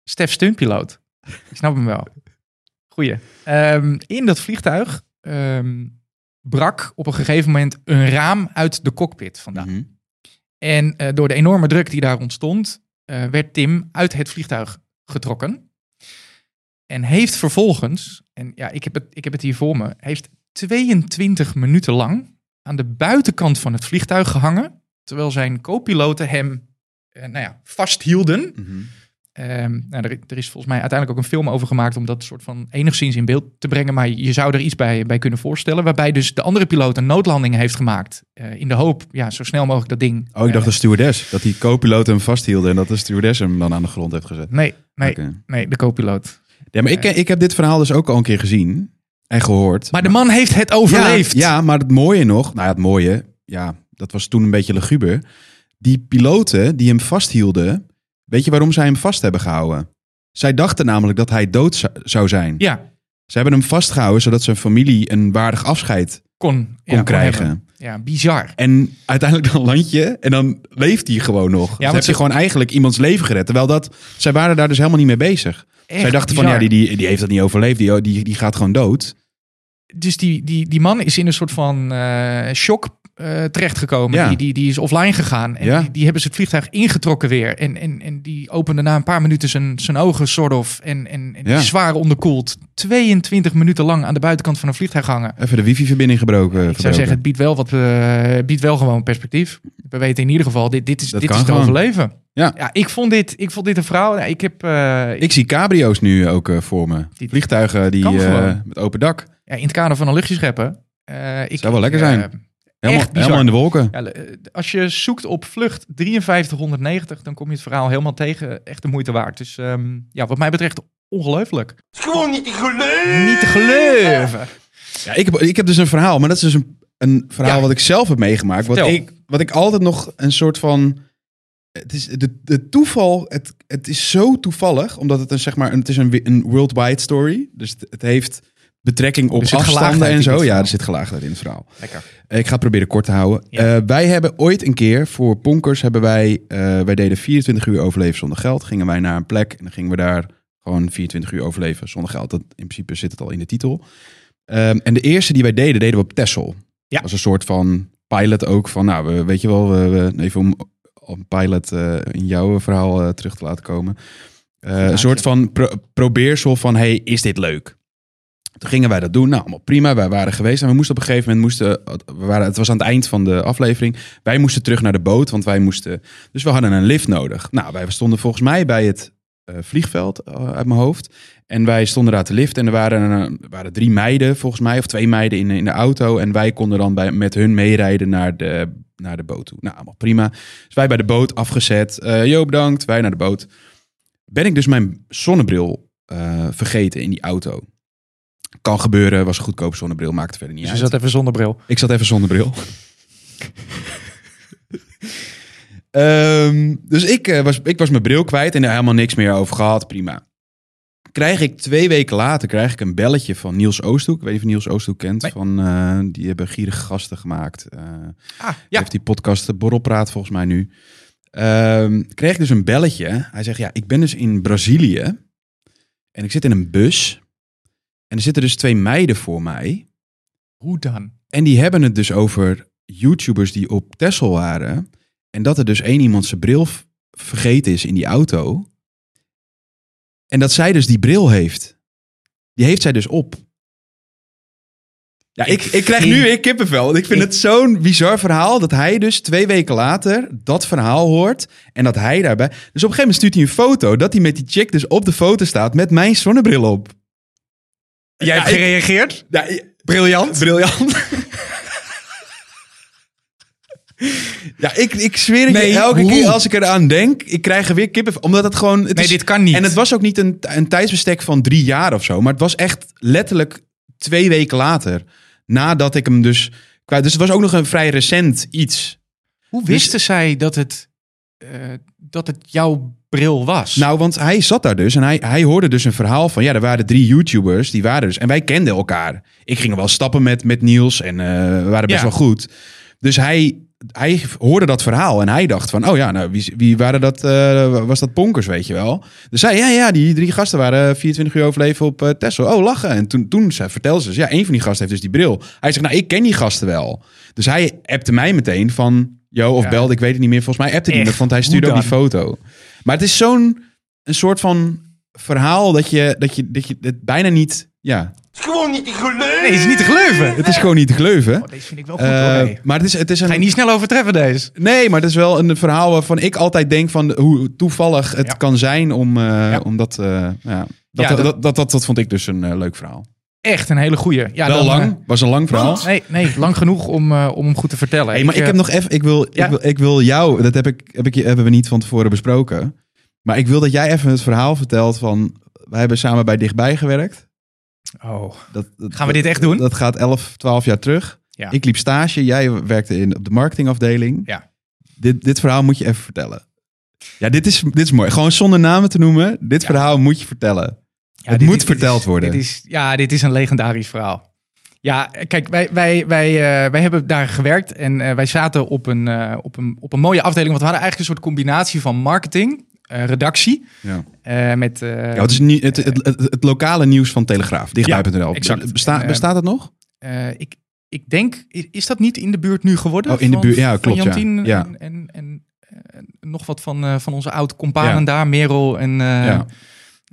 Stef Stuntpiloot. Ik snap hem wel. Goeie. Ehm, in dat vliegtuig ehm, brak op een gegeven moment een raam uit de cockpit vandaan. Mhm. En eh, door de enorme druk die daar ontstond, eh, werd Tim uit het vliegtuig getrokken. En heeft vervolgens, en ja, ik heb het, ik heb het hier voor me, heeft 22 minuten lang aan de buitenkant van het vliegtuig gehangen. Terwijl zijn co-piloten hem eh, nou ja, vasthielden. Mhm. Ehm, nou, er, er is volgens mij uiteindelijk ook een film over gemaakt om dat soort van enigszins in beeld te brengen. Maar je zou er iets bij, bij kunnen voorstellen. Waarbij dus de andere piloot een noodlanding heeft gemaakt. eh, in de hoop ja, zo snel mogelijk dat ding. Oh, ik dacht eh, de stewardess. Dat die co-piloot hem vasthielde en dat de stewardess hem dan aan de grond heeft gezet. Nee, nee, Oké. nee, de co-piloot. Ja, maar ik, ik heb dit verhaal dus ook al een keer gezien en gehoord. Maar de man heeft het overleefd. Ja, ja, maar het mooie nog, nou ja, het mooie, ja, dat was toen een beetje luguber. Die piloten die hem vasthielden, weet je waarom zij hem vast hebben gehouden? Zij dachten namelijk dat hij dood zou- zou zijn. Ja, Ze hebben hem vastgehouden zodat zijn familie een waardig afscheid kon, ja, kon kon krijgen. hebben. Ja, bizar. En uiteindelijk dan land je en dan leeft hij gewoon nog. Ja, want dan heb je ze- gewoon eigenlijk iemands leven gered. Terwijl dat, zij waren daar dus helemaal niet mee bezig. Echt zij dachten van, bizar. ja, die, die, die heeft dat niet overleefd. Die, die, die gaat gewoon dood. Dus die, die, die man is in een soort van eh, shock eh, terechtgekomen. Ja. Die, die, die is offline gegaan. En Ja. die, die hebben ze het vliegtuig ingetrokken weer. En, en, en die opende na een paar minuten zijn, zijn ogen, sort of. En, en, en die Ja. is zwaar onderkoeld. 22 minuten lang aan de buitenkant van een vliegtuig hangen. Even de wifi-verbinding gebroken. Ik zou zeggen, het biedt wel, wat, eh, het biedt wel gewoon perspectief. We weten in ieder geval, dit, dit is, Dat dit kan is het gewoon. overleven. Ja. ik, vond dit, ik vond dit een verhaal. Nou, Ik heb, eh, ik zie cabrio's nu ook eh, voor me. Die- Vliegtuigen die, Kan eh, gewoon. met open dak. ja, in het kader van een luchtje scheppen. eh, ik, Zou wel lekker eh, zijn. Helemaal, bizar. helemaal in de wolken. ja, eh, als je zoekt op vlucht 5390, dan kom je het verhaal helemaal tegen. Echt de moeite waard. Dus ehm, ja, wat mij betreft ongelooflijk. is gewoon niet te geloven. Niet te geloven. Ja, ik, heb, ik heb dus een verhaal, maar dat is dus een, een verhaal Ja. wat ik zelf heb meegemaakt. Wat Vertel. ik, wat ik altijd nog een soort van. Het is de, de toeval, het, het is zo toevallig, omdat het een, zeg maar, een- het is een, wi- een worldwide story. Dus het, het heeft betrekking op Er zit afstanden gelaagdheid en in dit zo. Ja, verhaal. er zit gelaagdheid in het verhaal. Lekker. Eh, Ik ga het proberen kort te houden. Ja. Eh, wij hebben ooit een keer voor Ponkers hebben wij, eh, wij deden 24 uur overleven zonder geld. Gingen wij naar een plek en dan gingen we daar gewoon 24 uur overleven zonder geld. Dat, in principe zit het al in de titel. Ehm, en de eerste die wij deden, deden we op Texel. Ja. Als een soort van pilot ook van, nou, we, weet je wel, we, we- even om om pilot eh, in jouw verhaal eh, terug te laten komen. Eh, een soort van pro- probeersel van, hey, is dit leuk? Toen gingen wij dat doen. Nou, allemaal prima. Wij waren geweest. En we moesten op een gegeven moment... Moesten, we waren, het was aan het eind van de aflevering. Wij moesten terug naar de boot. Want wij moesten... Dus we hadden een lift nodig. Nou, wij stonden volgens mij bij het eh, vliegveld eh, uit mijn hoofd. En wij stonden daar te liften. En er waren, eh, waren drie meiden volgens mij. Of twee meiden in, in de auto. En wij konden dan bij, met hun meerijden naar de, naar de boot toe. Nou, allemaal prima. Dus wij bij de boot afgezet. Eh jo, bedankt. Wij naar de boot. Ben ik dus mijn zonnebril eh, vergeten in die auto. Kan gebeuren, was een goedkoop zonnebril, maakt verder niet Dus je uit. zat even zonder bril. Ik zat even zonder bril. Ehm, dus ik, eh, was, ik was mijn bril kwijt en daar helemaal niks meer over gehad. Prima. Krijg ik twee weken later krijg ik een belletje van Niels Oosthoek. Ik weet niet of je Niels Oosthoek kent. Nee. Van, eh, die hebben gierige gasten gemaakt. Eh, Ah, ja. ja. heeft die podcast de Borrelpraat volgens mij nu. Ehm, kreeg ik dus een belletje. Hij zegt, ja, ik ben dus in Brazilië. En ik zit in een bus. En er zitten dus twee meiden voor mij. Hoe dan? En die hebben het dus over YouTubers die op Tesla waren. En dat er dus één iemand zijn bril v- vergeten is in die auto. En dat zij dus die bril heeft. Die heeft zij dus op. Ja, ik, ik krijg nu weer kippenvel. want Ik vind het zo'n bizar verhaal dat hij dus twee weken later dat verhaal hoort. En dat hij daarbij... Dus op een gegeven moment stuurt hij een foto dat hij met die chick dus op de foto staat met mijn zonnebril op. Jij hebt gereageerd? Ja, briljant. Briljant. ja, ik, ik zweer het Nee, je, elke hoe? keer als ik eraan denk, ik krijg er weer kippen. Omdat het gewoon... Het Nee, is- dit kan niet. En het was ook niet een, een tijdsbestek van drie jaar of zo. Maar het was echt letterlijk twee weken later. Nadat ik hem dus... kwijt- Dus het was ook nog een vrij recent iets. Hoe wisten zij dat het, eh, dat het jouw bril was? Nou, want hij zat daar dus en hij, hij hoorde dus een verhaal van... Ja, er waren drie YouTubers, die waren dus... En wij kenden elkaar. Ik ging wel stappen met, met Niels en eh, we waren best Ja. wel goed. Dus hij, hij hoorde dat verhaal en hij dacht van... Oh ja, nou, wie, wie waren dat? eh, was dat Ponkers, weet je wel? Dus hij, ja, ja, die drie gasten waren 24 uur overleven op eh Tesla. Oh, lachen. En toen, toen ze, vertelde ze dus... Ja, één van die gasten heeft dus die bril. Hij zegt, nou, ik ken die gasten wel. Dus hij appte mij meteen van... Yo, of Ja. belde, ik weet het niet meer. Volgens mij appte hij Echt, me, want hij hoe stuurde ook die dan? foto. Maar het is zo'n een soort van verhaal dat je, dat je, dat je het bijna niet. Ja, is gewoon niet te geloven. Nee, het is niet te geloven. het is gewoon niet te geloven. Eh, Oh, deze vind ik wel goed hoor. Eh, hey. maar het is, het is Ga je een. niet snel overtreffen deze. Nee, maar het is wel een verhaal waarvan ik altijd denk van hoe toevallig het Ja. kan zijn om, eh, Ja. om dat, eh, ja. Dat, Ja, dat, dat- dat, dat, dat vond ik dus een eh, leuk verhaal. Echt een hele goeie. Ja, wel dan, lang, eh, was een lang verhaal. Nee, nee, lang genoeg om, eh, om hem goed te vertellen. Hey, maar ik, eh, heb nog even, ik wil, Ja. ik wil, ik wil jou, dat heb ik, heb ik, je- hebben we niet van tevoren besproken. Maar ik wil dat jij even het verhaal vertelt van, wij hebben samen bij Dichtbij gewerkt. Oh, Dat, dat- Gaan we dit echt doen? Dat gaat 11, 12 jaar terug. Ja. Ik liep stage, jij werkte in, op de marketingafdeling. Ja. Dit, dit verhaal moet je even vertellen. Ja, dit is, dit is mooi. Gewoon zonder namen te noemen, dit Ja. verhaal moet je vertellen. ja, het dit- moet dit- dit verteld is- worden. Dit is, ja, dit is een legendarisch verhaal. Ja, eh, kijk, wij, wij, wij, eh, wij hebben daar gewerkt en eh, wij zaten op een, eh, op, een, op een mooie afdeling. Want we hadden eigenlijk een soort combinatie van marketing, eh, redactie. Ja. eh, met, eh, Ja, het, is nie- het, het, het, het lokale nieuws van Telegraaf, dichtbij.nl. exact. Besta- En, eh, bestaat dat nog? eh, ik, ik denk, i- is dat niet in de buurt nu geworden? Oh, in de Van- buurt, ja, van klopt, ja. Jantien Ja. En, en, en, en nog wat van, eh, van onze oud-companen daar, Merel en, eh, Ja.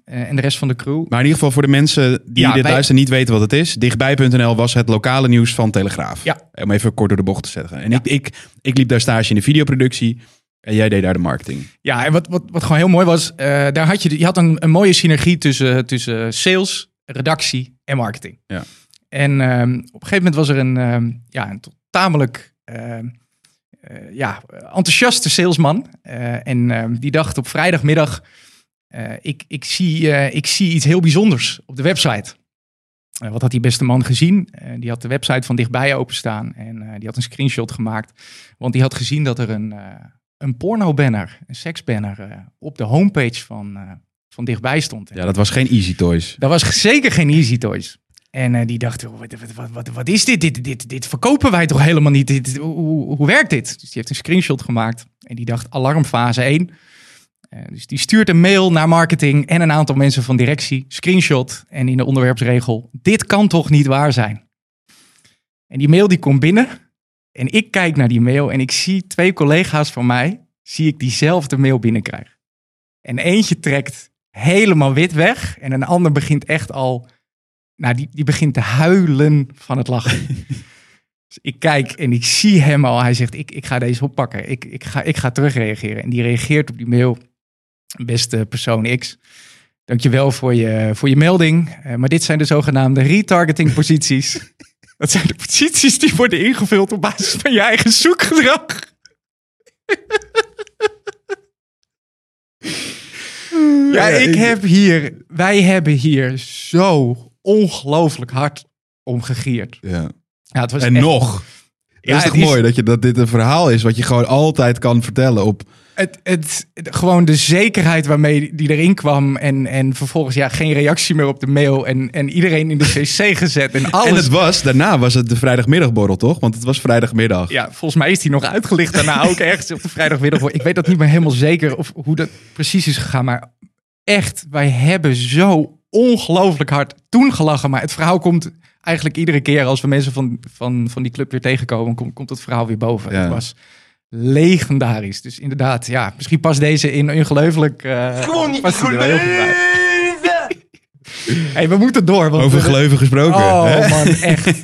eh, en de rest van de crew. Maar in ieder geval voor de mensen die Ja, dit wij- luisteren niet weten wat het is. Dichtbij.nl was het lokale nieuws van Telegraaf. Ja. Om even kort door de bocht te zetten. En ik, ik, ik liep daar stage in de videoproductie. En jij deed daar de marketing. Ja, en wat, wat, wat gewoon heel mooi was, eh, daar had je, de- je had een, een mooie synergie tussen, tussen sales, redactie en marketing. Ja. En ehm, op een gegeven moment was er een, ehm, ja, een tot- tamelijk ehm, eh, ja, enthousiaste salesman. Eh, en ehm, die dacht op vrijdagmiddag, eh, ik, ik, zie, eh, ik zie iets heel bijzonders op de website. Eh, wat had die beste man gezien? Eh, die had de website van dichtbij openstaan en eh, die had een screenshot gemaakt. Want die had gezien dat er een, eh, een porno-banner, een seksbanner, eh, op de homepage van, eh, van dichtbij stond. Ja, dat was geen Easy Toys. Dat was g- zeker geen Easy Toys. En eh, die dachten, "Oh, wat, wat, wat, wat, wat is dit? Dit, dit? dit verkopen wij toch helemaal niet? Dit, dit- hoe, hoe, hoe werkt dit? Dus die heeft een screenshot gemaakt. En die dacht, alarmfase 1. Eh, dus die stuurt een mail naar marketing en een aantal mensen van directie. Screenshot en in de onderwerpsregel, dit kan toch niet waar zijn? En die mail die komt binnen. En ik kijk naar die mail en ik zie twee collega's van mij, zie ik diezelfde mail binnenkrijgen. En eentje trekt helemaal wit weg. En een ander begint echt al. Nou, die, die begint te huilen van het lachen. dus ik kijk en ik zie hem al. Hij zegt: Ik, ik ga deze oppakken. Ik, ik, ga, ik ga terugreageren. En die reageert op die mail. Beste persoon X. Dankjewel voor je, voor je melding. Eh, maar dit zijn de zogenaamde retargeting posities. Dat zijn de posities die worden ingevuld op basis van je eigen zoekgedrag. Ja, ik heb hier, wij hebben hier zo ongelooflijk hard om gegierd. Ja. Ja, het was En Dus echt- nog. Ja, het is toch het is- mooi dat, je, dat dit een verhaal is wat je gewoon altijd kan vertellen op... Het, het, het- gewoon de zekerheid waarmee die erin kwam. En, en vervolgens ja, geen reactie meer op de mail. En, en iedereen in de cc gezet. En alles. En het was, daarna was het de vrijdagmiddagborrel toch? Want het was vrijdagmiddag. Ja, volgens mij is die nog uitgelicht daarna ook ergens op de vrijdagmiddag. Ik weet dat niet meer helemaal zeker of hoe dat precies is gegaan. Maar echt, wij hebben zo ongelooflijk hard toen gelachen. Maar het verhaal komt eigenlijk iedere keer als we mensen van, van, van die club weer tegenkomen, komt, komt het verhaal weer boven. Ja. Het was legendarisch. Dus inderdaad, ja, misschien past deze in ongelooflijk. eh, Gewoon niet te past die er wel heel goed bij. geloven! Hey, we moeten door. Want Over we- gleuven gesproken. hè? Oh man, echt.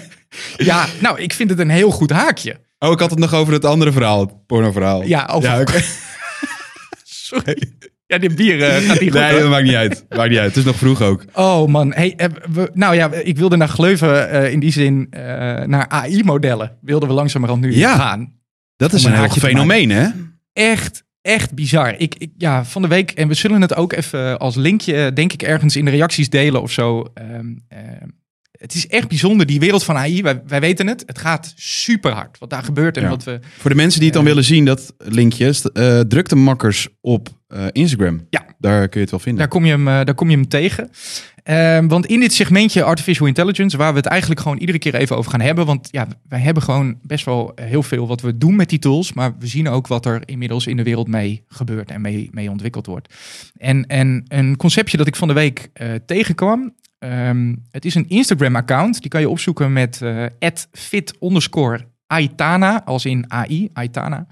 ja, nou, ik vind het een heel goed haakje. Oh, ik had het nog over het andere verhaal, het pornoverhaal. Ja, over- oké. Sorry. Ja, die bier eh, gaat niet goed. Nee, hoor. dat maakt niet uit. Maakt niet uit. Het is nog vroeg ook. Oh man, hey, eh, we, nou ja, ik wilde naar Gleuven eh, in die zin eh, naar AI-modellen. Wilden we langzamerhand nu Ja. gaan. Dat is Om een een heel haakje te fenomeen, hè? Echt, echt bizar. Ik, ik, ja, van de week, en we zullen het ook even als linkje, eh, denk ik, ergens in de reacties delen of zo. Ehm, ehm, het is echt bijzonder, die wereld van AI. Wij, wij weten het, het gaat super hard wat daar gebeurt en Ja. wat we Voor de mensen die het dan willen zien, dat linkje, st- eh, druk de makkers op eh, Instagram. Ja. Daar kun je het wel vinden. Daar kom je hem, eh, daar kom je hem tegen. Ehm, want in dit segmentje artificial intelligence, waar we het eigenlijk gewoon iedere keer even over gaan hebben. Want ja, wij hebben gewoon best wel eh, heel veel wat we doen met die tools. Maar we zien ook wat er inmiddels in de wereld mee gebeurt en mee, mee ontwikkeld wordt. En, en een conceptje dat ik van de week eh, tegenkwam. ehm, het is een Instagram-account. Die kan je opzoeken met eh fit Aitana, als in AI, Aitana.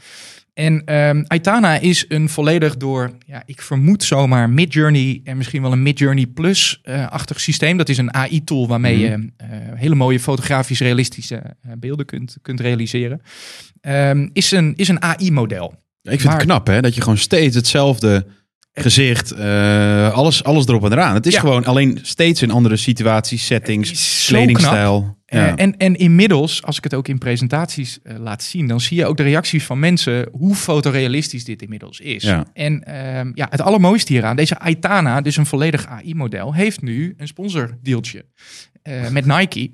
En ehm Aitana is een volledig door, ja, ik vermoed zomaar Midjourney en misschien wel een Midjourney Plus-achtig systeem. Dat is een AI-tool waarmee je eh, hele mooie fotografisch realistische eh, beelden kunt, kunt realiseren. Ehm, is een, is een AI-model. Ja, ik vind Maar- het knap, hè? Dat je gewoon steeds hetzelfde gezicht, eh, alles, alles erop en eraan. Het is Ja. gewoon alleen steeds in andere situaties, settings, Is zo kledingstijl. Eh, Ja. en, en inmiddels, als ik het ook in presentaties eh, laat zien, dan zie je ook de reacties van mensen hoe fotorealistisch dit inmiddels is. Ja. En ehm, ja, het allermooiste hieraan, deze Aitana, dus een volledig AI-model, heeft nu een sponsordealtje eh, met Nike.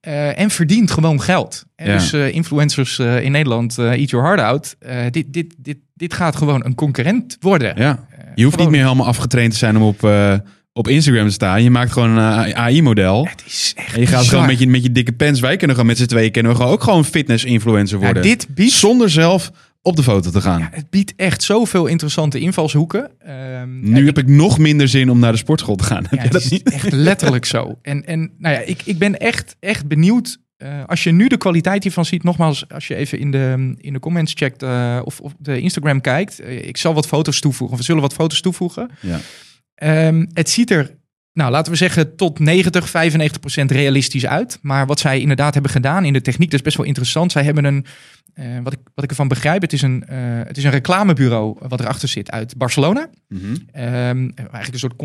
Eh, en verdient gewoon geld. En Ja. Dus eh, influencers eh, in Nederland, eh, eat your heart out. Eh, dit, dit, dit, dit gaat gewoon een concurrent worden. ja. Je hoeft niet eh, gewoon- meer helemaal afgetraind te zijn om op, eh, op Instagram te staan. Je maakt gewoon een AI-model. Het is echt En je gaat bizar. gewoon met je, met je dikke pens. Wij kunnen gewoon met z'n tweeën kunnen we gewoon ook gewoon fitness-influencer Ja, worden. Nou, dit biedt Zonder zelf op de foto te gaan. Het biedt echt zoveel interessante invalshoeken. Ehm, nu heb ik nog minder zin om naar de sportschool te gaan. Heb Ja, jij het dat is niet? echt letterlijk zo. En, en nou ja, ik, ik ben echt, echt benieuwd eh, als je nu de kwaliteit hiervan ziet, nogmaals, als je even in de, in de comments checkt eh, of op de Instagram kijkt. eh, ik zal wat foto's toevoegen, of we zullen wat foto's toevoegen. Ja. Ehm, het ziet er, nou laten we zeggen, tot 90, 95 procent realistisch uit. Maar wat zij inderdaad hebben gedaan in de techniek, dat is best wel interessant. Zij hebben een, eh, wat, ik, wat ik ervan begrijp, het is, een, eh, het is een reclamebureau wat erachter zit uit Barcelona. Mhm. Ehm, eigenlijk een soort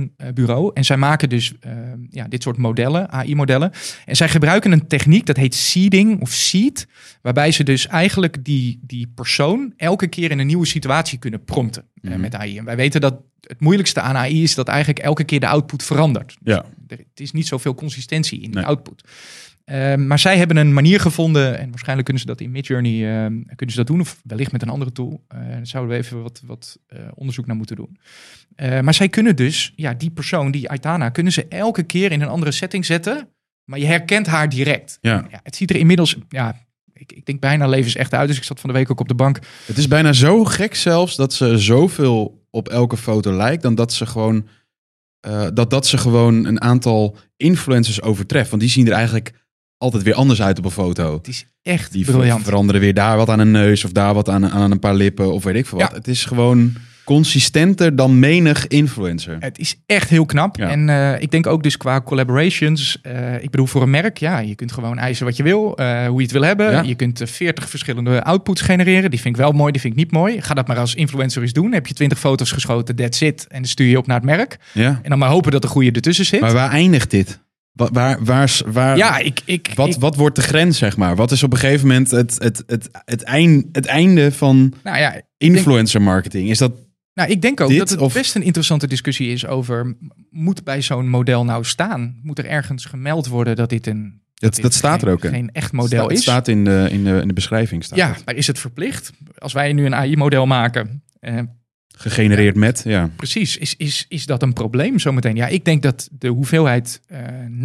conceptingbureau. En zij maken dus ehm, ja, dit soort modellen, AI-modellen. En zij gebruiken een techniek dat heet seeding of seed. Waarbij ze dus eigenlijk die, die persoon elke keer in een nieuwe situatie kunnen prompten eh, Mhm. met AI. En wij weten dat het moeilijkste aan AI is dat eigenlijk elke keer de output verandert. Ja. Er het is niet zoveel consistentie in Nee. de output. Ehm, maar zij hebben een manier gevonden, en waarschijnlijk kunnen ze dat in Midjourney ehm, kunnen ze dat doen, of wellicht met een andere tool. Eh, daar zouden we even wat, wat eh, onderzoek naar moeten doen. Eh, maar zij kunnen dus, ja, die persoon, die Aitana, kunnen ze elke keer in een andere setting zetten, maar je herkent haar direct. ja. Ja, het ziet er inmiddels, ja, ik, ik denk bijna levensecht uit. Dus ik zat van de week ook op de bank. Het is bijna zo gek zelfs dat ze zoveel op elke foto lijkt, dan dat ze gewoon, eh, dat, dat ze gewoon een aantal influencers overtreft. Want die zien er eigenlijk altijd weer anders uit op een foto. Het is echt Die ver- briljant. veranderen weer daar wat aan een neus of daar wat aan, aan een paar lippen of weet ik veel wat. Ja. Het is gewoon consistenter dan menig influencer. Het is echt heel knap. Ja. En eh, ik denk ook dus qua collaborations. eh, ik bedoel, voor een merk, ja, je kunt gewoon eisen wat je wil, eh, hoe je het wil hebben. Ja. Je kunt eh, 40 verschillende outputs genereren. Die vind ik wel mooi, die vind ik niet mooi. Ga dat maar als influencer eens doen. Heb je 20 foto's geschoten, that's it. En dan stuur je op naar het merk. Ja. En dan maar hopen dat de goede ertussen zit. Maar waar eindigt dit? Wa- Waar, waar, waar, ja, ik, ik, wat, ik- wat wordt de grens, zeg maar? Wat is op een gegeven moment het, het, het, het, eind, het einde van nou ja, influencer marketing? Is dat Nou, ik denk ook Dit dat het of- best een interessante discussie is over... m- moet bij zo'n model nou staan? Moet er ergens gemeld worden dat dit een... Dat, dit dat staat er geen- ook in. Geen echt model Sta- het is? staat in de, in de, in de beschrijving. Staat ja, het. maar is het verplicht? Als wij nu een AI-model maken... eh, Gegenereerd met, ja. precies, is, is, is dat een probleem zometeen? Ja, ik denk dat de hoeveelheid eh,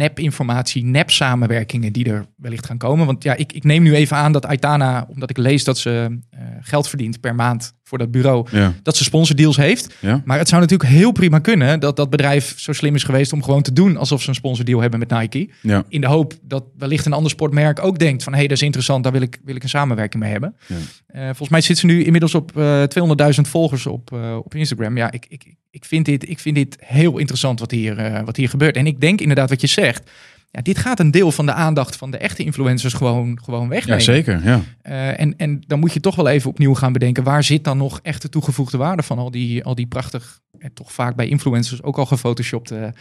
nep-informatie, nep-samenwerkingen die er wellicht gaan komen... Want ja, ik, ik neem nu even aan dat Aitana, omdat ik lees dat ze eh, geld verdient per maand voor dat bureau... ja. dat ze sponsordeals heeft... ja. Maar het zou natuurlijk heel prima kunnen dat dat bedrijf zo slim is geweest om gewoon te doen alsof ze een sponsordeal hebben met Nike. ja. In de hoop dat wellicht een ander sportmerk ook denkt van hé, hey, dat is interessant, daar wil ik, wil ik een samenwerking mee hebben. Ja. Eh, volgens mij zit ze nu inmiddels op eh 200.000 volgers op, eh, op Instagram. Ja, ik, ik, ik, vind dit, ik vind dit heel interessant wat hier, eh, wat hier gebeurt. En ik denk inderdaad wat je zegt. Ja, dit gaat een deel van de aandacht van de echte influencers gewoon, gewoon Ja, wegnemen. zeker. Ja. Eh, en, en dan moet je toch wel even opnieuw gaan bedenken, waar zit dan nog echt de toegevoegde waarde van al die, al die prachtig, en toch vaak bij influencers ook al gefotoshopte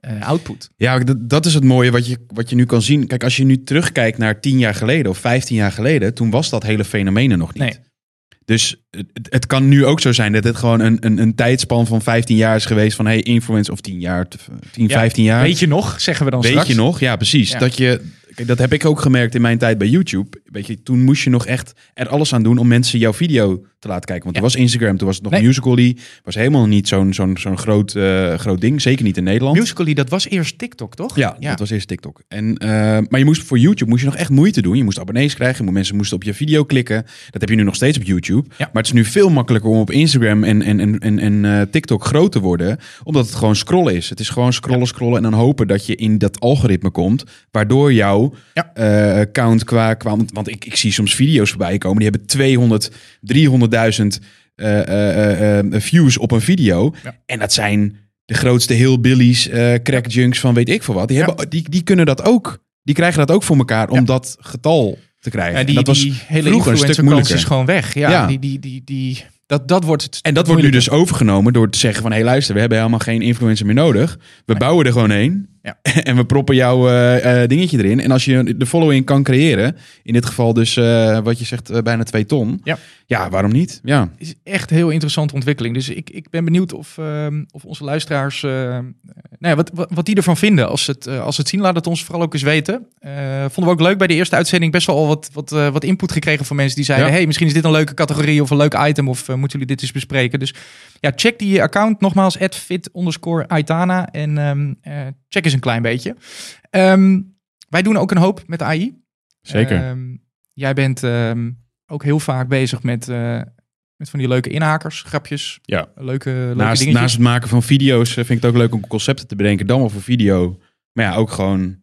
eh, output. ja, dat, dat is het mooie wat je, wat je nu kan zien. Kijk, als je nu terugkijkt naar 10 jaar geleden of 15 jaar geleden, toen was dat hele fenomeen er nog niet. Nee. Dus het, het kan nu ook zo zijn dat het gewoon een, een, een tijdspan van 15 jaar is geweest van hey, influence of 10 jaar, 10, Ja, 15 jaar. Weet je nog, zeggen we dan Weet straks. je nog? Ja, precies. Ja. Dat je, kijk, dat heb ik ook gemerkt in mijn tijd bij YouTube. Weet je, toen moest je nog echt er alles aan doen om mensen jouw video te laten kijken. Want Ja. toen was Instagram, toen was het nog Nee. Musical.ly. Was helemaal niet zo'n zo'n zo'n groot, eh, groot ding. Zeker niet in Nederland. Musical.ly, dat was eerst TikTok, toch? ja, dat was eerst TikTok. En, eh, maar je moest, voor YouTube moest je nog echt moeite doen. Je moest abonnees krijgen. je moest- Mensen moesten op je video klikken. Dat heb je nu nog steeds op YouTube. Maar het is nu veel makkelijker om op Instagram en, en, en, en, en eh, TikTok groot te worden. Omdat het gewoon scrollen is. Het is gewoon scrollen, scrollen. En dan hopen dat je in dat algoritme komt. Waardoor jouw Ja. eh, account qua... qua want want ik, ik zie soms video's voorbij komen. Die hebben 200, 300.000 eh, eh, eh, eh, views op een video. Ja. En dat zijn de grootste hillbillies, eh crack junks van weet ik veel wat. Die, Ja. hebben, die, die kunnen dat ook. Die krijgen dat ook voor elkaar om Ja. dat getal te krijgen. Ja, En die, dat was die hele vroeger een stuk influencerkans is moeilijker. gewoon weg. Ja, Ja. Die, die, die, die, dat, dat wordt het En dat wordt nu moeilijker. dus overgenomen door te zeggen van... hé hey, luister, we hebben helemaal geen influencer meer nodig. We bouwen er gewoon één. Ja. En we proppen jouw eh, eh, dingetje erin. En als je de following kan creëren... in dit geval dus eh, wat je zegt, eh, bijna twee ton. Ja. ja, waarom niet? Ja. is echt een heel interessante ontwikkeling. Dus ik, ik ben benieuwd of, ehm, of onze luisteraars. eh, nou ja, wat, wat, wat die ervan vinden. Als ze het, eh, als ze het zien, laat het ons vooral ook eens weten. Eh, vonden we ook leuk bij de eerste uitzending. Best wel al wat, wat, eh, wat input gekregen van mensen die zeiden: Ja. hey, misschien is dit een leuke categorie of een leuk item. Of eh, moeten jullie dit eens bespreken? Dus ja, check die account nogmaals: fit Aitana. En ehm, eh, check eens een klein beetje. Ehm, wij doen ook een hoop met AI. Ehm, jij bent ehm, ook heel vaak bezig met, eh, met van die leuke inhakers, grapjes. Ja. Leuke, leuke naast, dingetjes. naast het maken van video's eh, vind ik het ook leuk om concepten te bedenken. Dan wel voor video. Maar ja, ook gewoon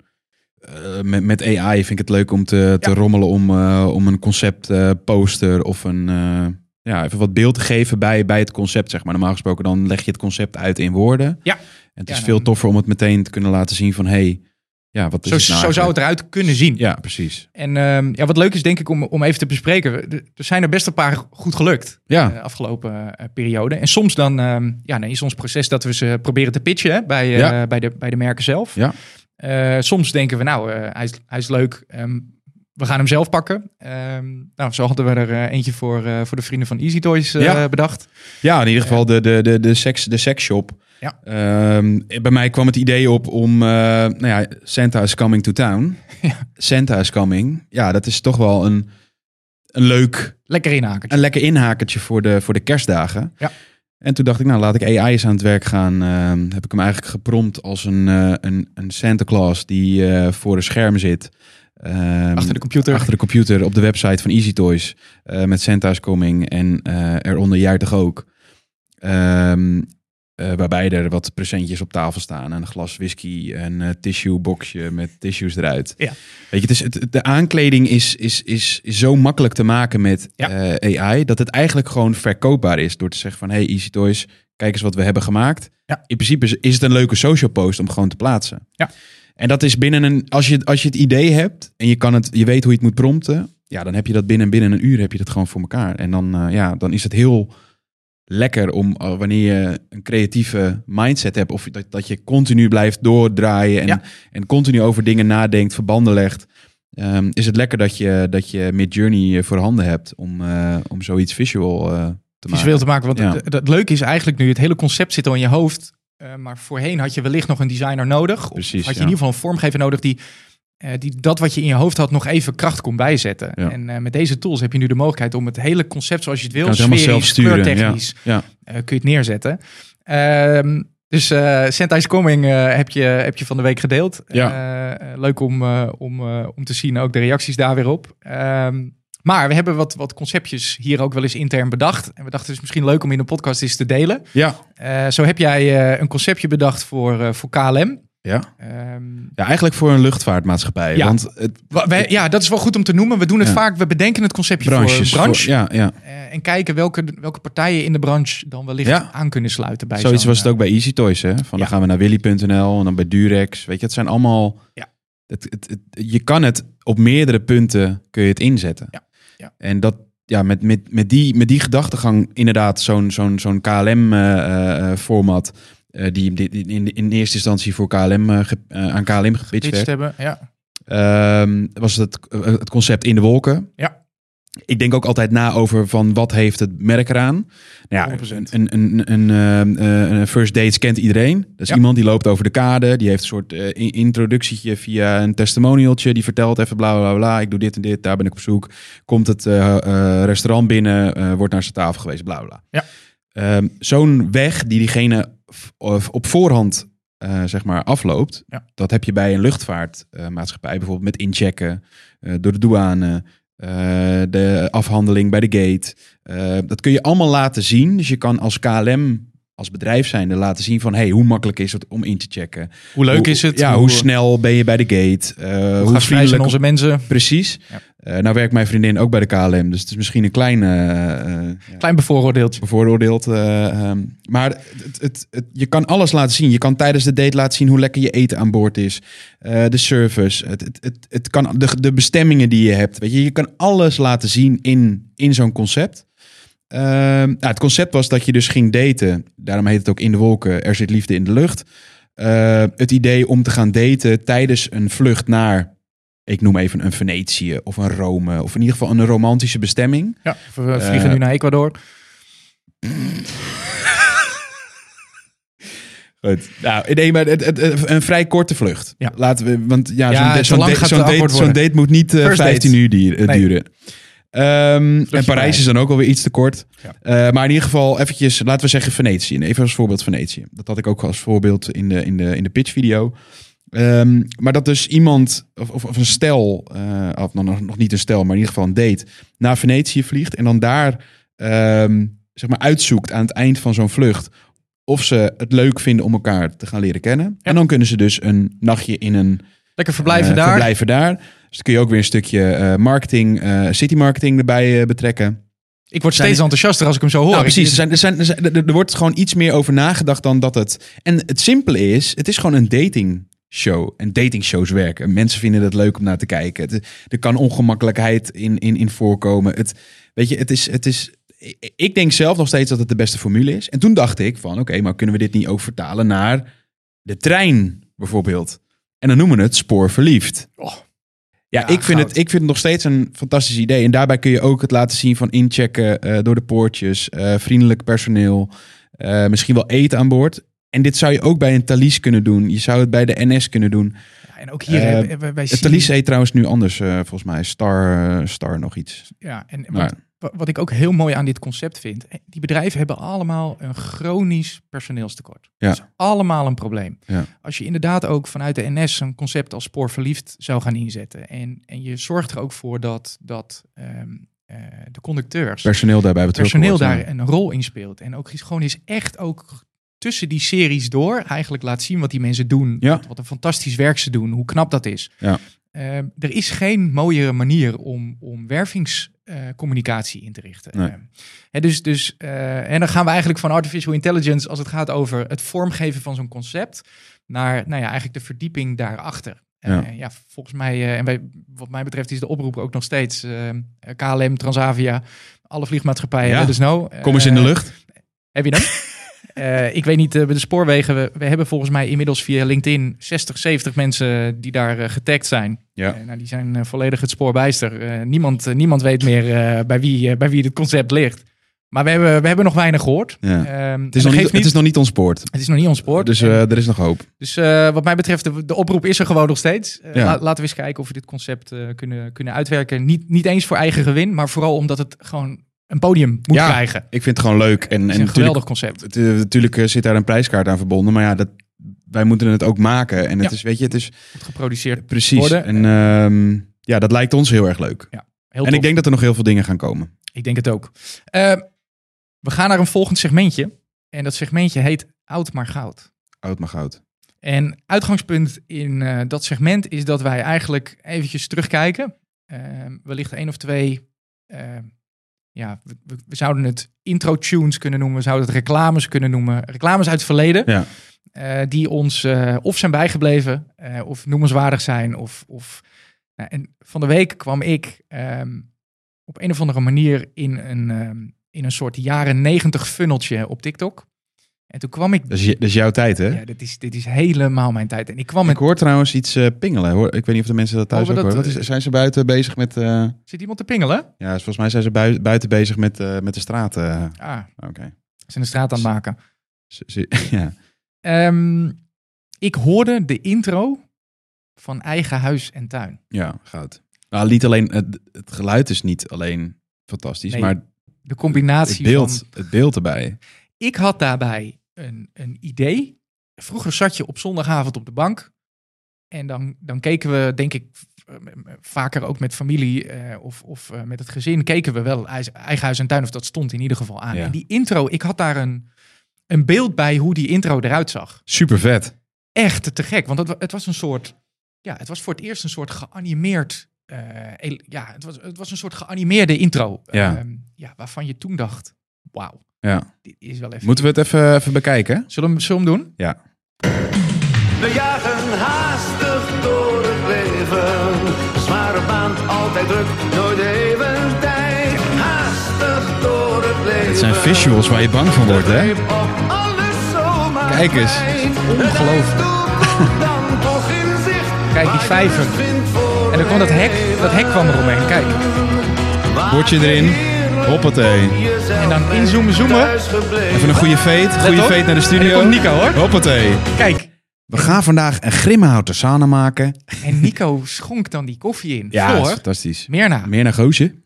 eh, met, met AI vind ik het leuk om te, te rommelen om, eh, om een concept eh, poster of een, eh, ja, even wat beeld te geven bij, bij het concept. Zeg maar. Normaal gesproken dan leg je het concept uit in woorden. Ja. En het is Ja, veel dan- toffer om het meteen te kunnen laten zien van hey, ja, wat is Zo, het nou zo zou het eigenlijk? eruit kunnen zien. Ja, precies. En ehm, ja, wat leuk is, denk ik, om, om even te bespreken. Er er zijn er best een paar goed gelukt Ja. de afgelopen eh, periode. En soms dan, ehm, ja, dan is ons proces dat we ze proberen te pitchen hè, bij, eh, Ja. bij, de, bij de merken zelf. Ja. Eh, soms denken we, nou, eh, hij, is, hij is leuk. ehm, we gaan hem zelf pakken. Ehm, nou, zo hadden we er eh, eentje voor, eh, voor de vrienden van Easy Toys eh, Ja. bedacht. Ja, in ieder geval de, de, de, de, seks, de seksshop. Ja. Ehm, bij mij kwam het idee op om, eh, nou ja, Santa is coming to town. Ja. Santa is coming. Ja, dat is toch wel een, een leuk, Lekker inhaken. een lekker inhakertje voor de, voor de kerstdagen. Ja. En toen dacht ik, nou laat ik AI eens aan het werk gaan. Ehm, heb ik hem eigenlijk geprompt als een, eh, een, een Santa Claus die eh, voor een scherm zit. Ehm, Achter de computer. achter de computer op de website van Easy Toys. eh, met Santa's Coming en eh, eronder Jaartig ook. Ehm, eh, waarbij er wat presentjes op tafel staan. Een glas whisky, een eh, tissueboxje met tissues eruit. Ja. Weet je, het is, het, de aankleding is, is, is, is zo makkelijk te maken met Ja. eh, AI... dat het eigenlijk gewoon verkoopbaar is door te zeggen van... hey Easy Toys, kijk eens wat we hebben gemaakt. Ja. In principe is, is het een leuke social post om gewoon te plaatsen. En dat is binnen een. Als je, als je het idee hebt en je, kan het, je weet hoe je het moet prompten. Ja, dan heb je dat binnen, binnen een uur heb je dat gewoon voor elkaar. En dan, eh, ja, dan is het heel lekker om eh, wanneer je een creatieve mindset hebt. Of dat, dat je continu blijft doordraaien en, Ja. en continu over dingen nadenkt, verbanden legt. ehm, is het lekker dat je, dat je mid-journey eh, voorhanden hebt om, eh, om zoiets visual eh, te maken. visueel te maken. Want Ja. het, het leuke is eigenlijk nu, het hele concept zit al in je hoofd. eh, maar voorheen had je wellicht nog een designer nodig. Of Precies, had je ja. in ieder geval een vormgever nodig die, eh, die dat wat je in je hoofd had nog even kracht kon bijzetten. Ja. En eh, met deze tools heb je nu de mogelijkheid om het hele concept zoals je het Je wil, kan het helemaal zelf sferisch, sturen. Ja. kleurtechnisch, Ja. eh, kun je het neerzetten. Ehm, dus eh Santa is Coming eh, heb, je, heb je van de week gedeeld. Ja. Eh, eh, leuk om, eh, om, eh, om te zien ook de reacties daar weer op. Ehm, maar we hebben wat, wat conceptjes hier ook wel eens intern bedacht. En we dachten het is misschien leuk om in de podcast eens te delen. Ja. Eh, zo heb jij eh, een conceptje bedacht voor, eh, voor KLM. Ja. Ehm, ja, eigenlijk voor een luchtvaartmaatschappij. Ja. Want het wa- wij- ja, dat is wel goed om te noemen. We doen het Ja. vaak, we bedenken het conceptje branches. voor een branche. ja, ja. eh, en kijken welke, welke partijen in de branche dan wellicht Ja. aan kunnen sluiten bij Zoiets zo'n, was het eh, ook bij Easy Toys, hè? Van Ja. dan gaan we naar Willy.nl en dan bij Durex. Weet je, het zijn allemaal... Ja. Het, het, het- je kan het op meerdere punten kun je het inzetten. Ja. Ja. En dat, ja, met, met, met, die, met die gedachtegang inderdaad zo'n zo'n zo'n eh, KLM-format... eh, die, die die in, in eerste instantie voor KLM, eh, ge- eh, aan KLM gepitcht werd. pitched hebben. Ja. Ehm, was het, eh, het concept in de wolken. Ja. Ik denk ook altijd na over van wat heeft het merk eraan. Nou ja, 100%. een, een, een, ehm, eh, een first date kent iedereen. Dat is Ja. iemand die loopt over de kade. Die heeft een soort eh, in- introductietje via een testimonialtje. Die vertelt even bla bla bla. Ik doe dit en dit. Daar ben ik op zoek. Komt het eh, eh, restaurant binnen. eh, wordt naar zijn tafel geweest. Bla bla. bla. Ja. Ehm, Zo'n weg die diegene v- of op voorhand eh, zeg maar afloopt. Ja. Dat heb je bij een luchtvaartmaatschappij eh, bijvoorbeeld met inchecken eh, door de douane. eh, de afhandeling bij de gate. Eh, dat kun je allemaal laten zien. Dus je kan als KLM, als bedrijf zijnde, laten zien van... hey, hoe makkelijk is het om in te checken? Hoe leuk Hoe- is het? Ja, hoe, snel ben je bij de gate? Eh, hoe, hoe gastvrij zijn vriendelijk... onze mensen? Precies. Ja. Eh, nou werkt mijn vriendin ook bij de KLM. Dus het is misschien een klein... eh, eh, ja Klein bevooroordeeltje. bevooroordeeld. eh, ehm, maar het, het, het- je kan alles laten zien. Je kan tijdens de date laten zien hoe lekker je eten aan boord is. eh, de service. Het, het, het, het kan, de, de bestemmingen die je hebt. Weet je, je kan alles laten zien in, in zo'n concept. Ehm, nou, het concept was dat je dus ging daten. Daarom heet het ook In de Wolken. Er zit liefde in de lucht. Eh, het idee om te gaan daten tijdens een vlucht naar... Ik noem even een Venetië of een Rome. Of in ieder geval een romantische bestemming. Ja, we we vliegen Eh, nu naar Ecuador. Goed. Nou, nee, maar het, het- het- een vrij korte vlucht. Ja. Laten we, want ja, Ja, zo'n, te zo'n lang date, gaat zo'n het date, awkward zo'n worden. date moet niet eh, First date. 15 uur die- eh, Nee. duren. Ehm, en Parijs Parijs. is dan ook alweer iets te kort. Ja. Eh, maar in ieder geval eventjes, laten we zeggen Venetië. Even als voorbeeld Venetië. Dat had ik ook als voorbeeld in de, in de, in de pitchvideo. Ehm, maar dat dus iemand, of, of, of een stel, eh, of nog, nog niet een stel, maar in ieder geval een date, naar Venetië vliegt en dan daar ehm, zeg maar uitzoekt aan het eind van zo'n vlucht of ze het leuk vinden om elkaar te gaan leren kennen. En dan kunnen ze dus een nachtje in een Lekker verblijven Eh, daar. Verblijven daar. Dus dan kun je ook weer een stukje eh, marketing, eh city marketing erbij eh, betrekken. Ik word Zijn- steeds enthousiaster als ik hem zo hoor. Nou, Ik- precies. Er, zijn, er, zijn, er, zijn- er- er wordt gewoon iets meer over nagedacht dan dat het. En het simpele is: het is gewoon een dating show. En datingshows werken. Mensen vinden het leuk om naar te kijken. Het, er kan ongemakkelijkheid in, in, in voorkomen. Het, weet je, het is. Het is ik- ik denk zelf nog steeds dat het de beste formule is. En toen dacht ik van, oké, maar kunnen we dit niet ook vertalen naar de trein bijvoorbeeld? En dan noemen we het spoorverliefd. Oh. Ja, Ja, ik, vind goud. het, ik vind het nog steeds een fantastisch idee. En daarbij kun je ook het laten zien van inchecken eh, door de poortjes, eh, vriendelijk personeel, eh, misschien wel eten aan boord. En dit zou je ook bij een Thalys kunnen doen. Je zou het bij de NS kunnen doen. Ja, en ook hier Eh, hebben wij- wij Het zien- Thalys heet trouwens nu anders, eh, volgens mij. Star, eh, Star nog iets. Ja, en Maar- wat, wa- wat ik ook heel mooi aan dit concept vind. eh, Die bedrijven hebben allemaal een chronisch personeelstekort. Ja. Dat is allemaal een probleem. Ja. Als je inderdaad ook vanuit de NS een concept als spoorverliefd zou gaan inzetten. En, en je zorgt er ook voor dat, dat ehm, eh, de conducteurs, Personeel daarbij betrokken. personeel wordt, ja. daar een rol in speelt. En ook gewoon is echt ook tussen die series door eigenlijk laat zien wat die mensen doen. Ja. Wat, wat een fantastisch werk ze doen, hoe knap dat is. Ja. Eh, er is geen mooiere manier om, om wervingscommunicatie in te richten. Nee. Eh, hè, dus, dus, eh, en dan gaan we eigenlijk van artificial intelligence, als het gaat over het vormgeven van zo'n concept, naar nou ja, eigenlijk de verdieping daarachter. Ja. Ja, ja volgens mij, eh, en wij, wat mij betreft, is de oproep ook nog steeds eh, KLM, Transavia, alle vliegmaatschappijen, Ja. let us know. Kom eens in de Eh, lucht. heb je hem? Eh, ik weet niet, eh, bij de spoorwegen, we, we hebben volgens mij inmiddels via LinkedIn 60, 70 mensen die daar eh, getagd zijn. Ja. Eh, nou, die zijn eh, volledig het spoor bijster. Eh, niemand, eh, niemand weet meer eh, bij, wie, eh, bij wie dit concept ligt. Maar we hebben, we hebben nog weinig gehoord. Ja. Ehm, Het, is en nog dat niet, geeft het is nog niet ontspoord. het is nog niet ontspoord. Dus En- eh, er is nog hoop. dus eh, wat mij betreft, de, de oproep is er gewoon nog steeds. Eh, Ja. la- laten we eens kijken of we dit concept eh, kunnen, kunnen uitwerken. Niet, niet eens voor eigen gewin, maar vooral omdat het gewoon een podium moet Ja. krijgen. Het Ik vind het gewoon leuk. En, en is een natuurlijk geweldig concept. Het, eh, natuurlijk eh, zit daar een prijskaart aan verbonden, maar ja, dat, wij moeten het ook maken. En het is, weet je, het is Het geproduceerd. precies. Worden. En ehm, ja, dat lijkt ons heel erg leuk. Heel en tof. ik denk dat er nog heel veel dingen gaan komen. Ik denk het ook. Eh, we gaan naar een volgend segmentje. En dat segmentje heet Oud maar Goud. Oud maar goud. En uitgangspunt in eh, dat segment is dat wij eigenlijk eventjes terugkijken. Eh, wellicht één of twee. eh, ja, we, we- we zouden het intro tunes kunnen noemen. We zouden het reclames kunnen noemen. Reclames uit het verleden. Ja. eh, die ons eh, of zijn bijgebleven. eh, of noemenswaardig zijn. Of, of, nou, en van de week kwam ik ehm, op een of andere manier in een, ehm, in een soort jaren negentig funneltje op TikTok. En toen kwam ik Dat is, je- dat is jouw tijd, hè? ja, dit is, dit is helemaal mijn tijd. En ik kwam Ik met... hoor trouwens iets eh, pingelen. Hoor. Ik weet niet of de mensen dat thuis Oh, ook maar horen. dat, Wat is, zijn ze buiten bezig met... eh, Zit iemand te pingelen? ja, volgens mij zijn ze bui- buiten bezig met, eh, met de straat. eh. Ah, Oké. ze zijn de straat aan het maken. Ze- ze- ja. Ehm, ik hoorde de intro van Eigen Huis en Tuin. ja, goud. Nou, niet alleen, het, het geluid is niet alleen fantastisch, Nee, maar De het combinatie beeld, van... het beeld erbij. Ik had daarbij een, een idee. Vroeger zat je op zondagavond op de bank. En dan, dan keken we, denk ik, eh, vaker ook met familie eh, of, of eh, met het gezin... keken we wel Eis- Eigen Huis en Tuin, of dat stond in ieder geval aan. Ja. En die intro, ik had daar een, een beeld bij hoe die intro eruit zag. Super vet. echt te gek. Want het, wa- het was een soort. Ja, het was voor het eerst een soort geanimeerd. eh, ele- ja, het was, het was een soort geanimeerde intro. Ja. Ehm, ja waarvan je toen dacht: wauw, Ja. dit is wel even. Moeten we het even, even bekijken? Zullen, we, hem- zullen we hem doen? Ja. We jagen haastig door het leven. Zware baan, altijd druk, nooit even tijd. Haastig door het leven. Het zijn visuals waar je bang van wordt, hè? Greep op alles zomaar Kijk eens. fijn. Ongelooflijk. Komt dan toch in zicht. Kijk, die Waar je vijver. rust vindt voor En dan kwam dat hek, dat hek kwam eromheen. Kijk. Bordje erin. Hoppatee. jezelf En dan inzoomen, zoomen. thuis gebleven. Even een goede veet. Goede op. veet naar de En studio. dan komt Nico, hoor. Hoppatee. Kijk. We gaan vandaag een grimmenhouten sauna maken. En Nico schonk dan die koffie in. Ja, dat is voor fantastisch. Mirna. Meer naar gozen.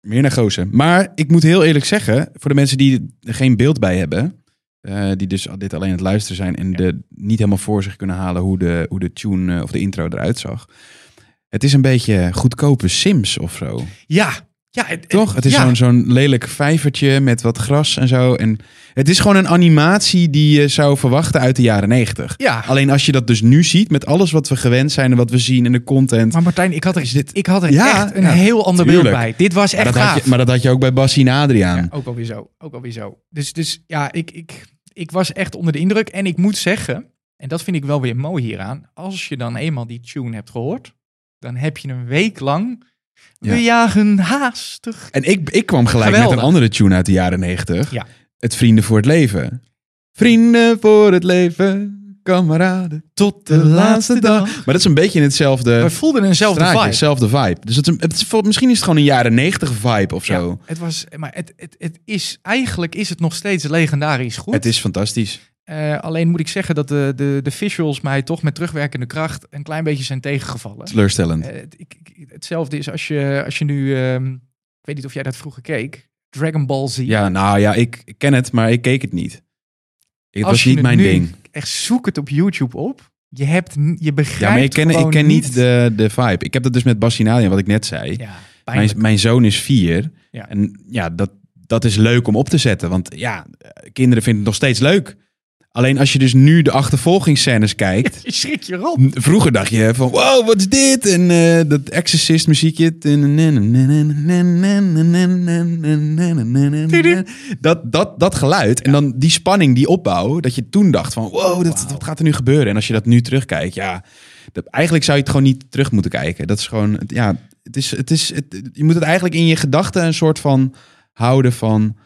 Meer naar gozen. Maar ik moet heel eerlijk zeggen, voor de mensen die er geen beeld bij hebben, eh, die dus dit alleen aan het luisteren zijn en de, niet helemaal voor zich kunnen halen hoe de, hoe de tune eh, of de intro eruit zag. Het is een beetje goedkope Sims of zo. Ja. Ja, het- Toch? Het is ja. zo'n zo'n lelijk vijvertje met wat gras en zo. En het is gewoon een animatie die je zou verwachten uit de jaren negentig. Ja. Alleen als je dat dus nu ziet, met alles wat we gewend zijn en wat we zien en de content. Maar Martijn, ik had er, dit- ik had er Ja, echt een ja, heel ander beeld tuurlijk. bij. Dit was Maar echt dat, gaaf. had je, maar dat had je ook bij Bassie en Adriaan. Ja, ook alweer zo. Ook alweer zo. Dus, dus ja, ik, ik, ik was echt onder de indruk. En ik moet zeggen, en dat vind ik wel weer mooi hieraan. Als je dan eenmaal die tune hebt gehoord, dan heb je een week lang... Ja. We jagen haastig. En ik, ik kwam gelijk met Geweldig. een andere tune uit de jaren negentig. Ja. Het Vrienden voor het Leven. Vrienden voor het leven, kameraden, tot de laatste dag. Maar dat is een beetje in hetzelfde We voelden eenzelfde straatje, vibe. hetzelfde vibe. Dus het is een- het is vol- misschien is het gewoon een jaren negentig vibe of zo. Ja, het was, maar het, het, het is, eigenlijk is het nog steeds legendarisch goed. Het is fantastisch. Eh, alleen moet ik zeggen dat de, de, de visuals mij toch met terugwerkende kracht een klein beetje zijn tegengevallen. Teleurstellend. Eh, het- ik, ik- hetzelfde is als je, als je nu, ehm, ik weet niet of jij dat vroeger keek, Dragon Ball Z. Ja, nou ja, ik ik ken het, maar ik keek het niet. Het Als was je niet het mijn nu ding. Echt zoek het op YouTube op. Je, hebt, n- je begrijpt Ja, maar ik ken, ik gewoon ken niet de, de vibe. Ik heb dat dus met Bassinalian, wat ik net zei. Ja, Mijn, pijnlijk. mijn zoon is vier. Ja. En ja, dat, dat is leuk om op te zetten. Want ja, eh, kinderen vinden het nog steeds leuk. Alleen als je dus nu de achtervolgingsscènes kijkt. Je schrik je rot. m- Vroeger dacht je van, wow, wat is dit? En eh, dat Exorcist muziekje. Dat, dat, dat geluid en dan die spanning, die opbouw. Dat je toen dacht van, wow, dat, wat gaat er nu gebeuren? En als je dat nu terugkijkt, ja. Dat, eigenlijk zou je het gewoon niet terug moeten kijken. Dat is gewoon, ja, het is, het is, het- je moet het eigenlijk in je gedachten een soort van houden van...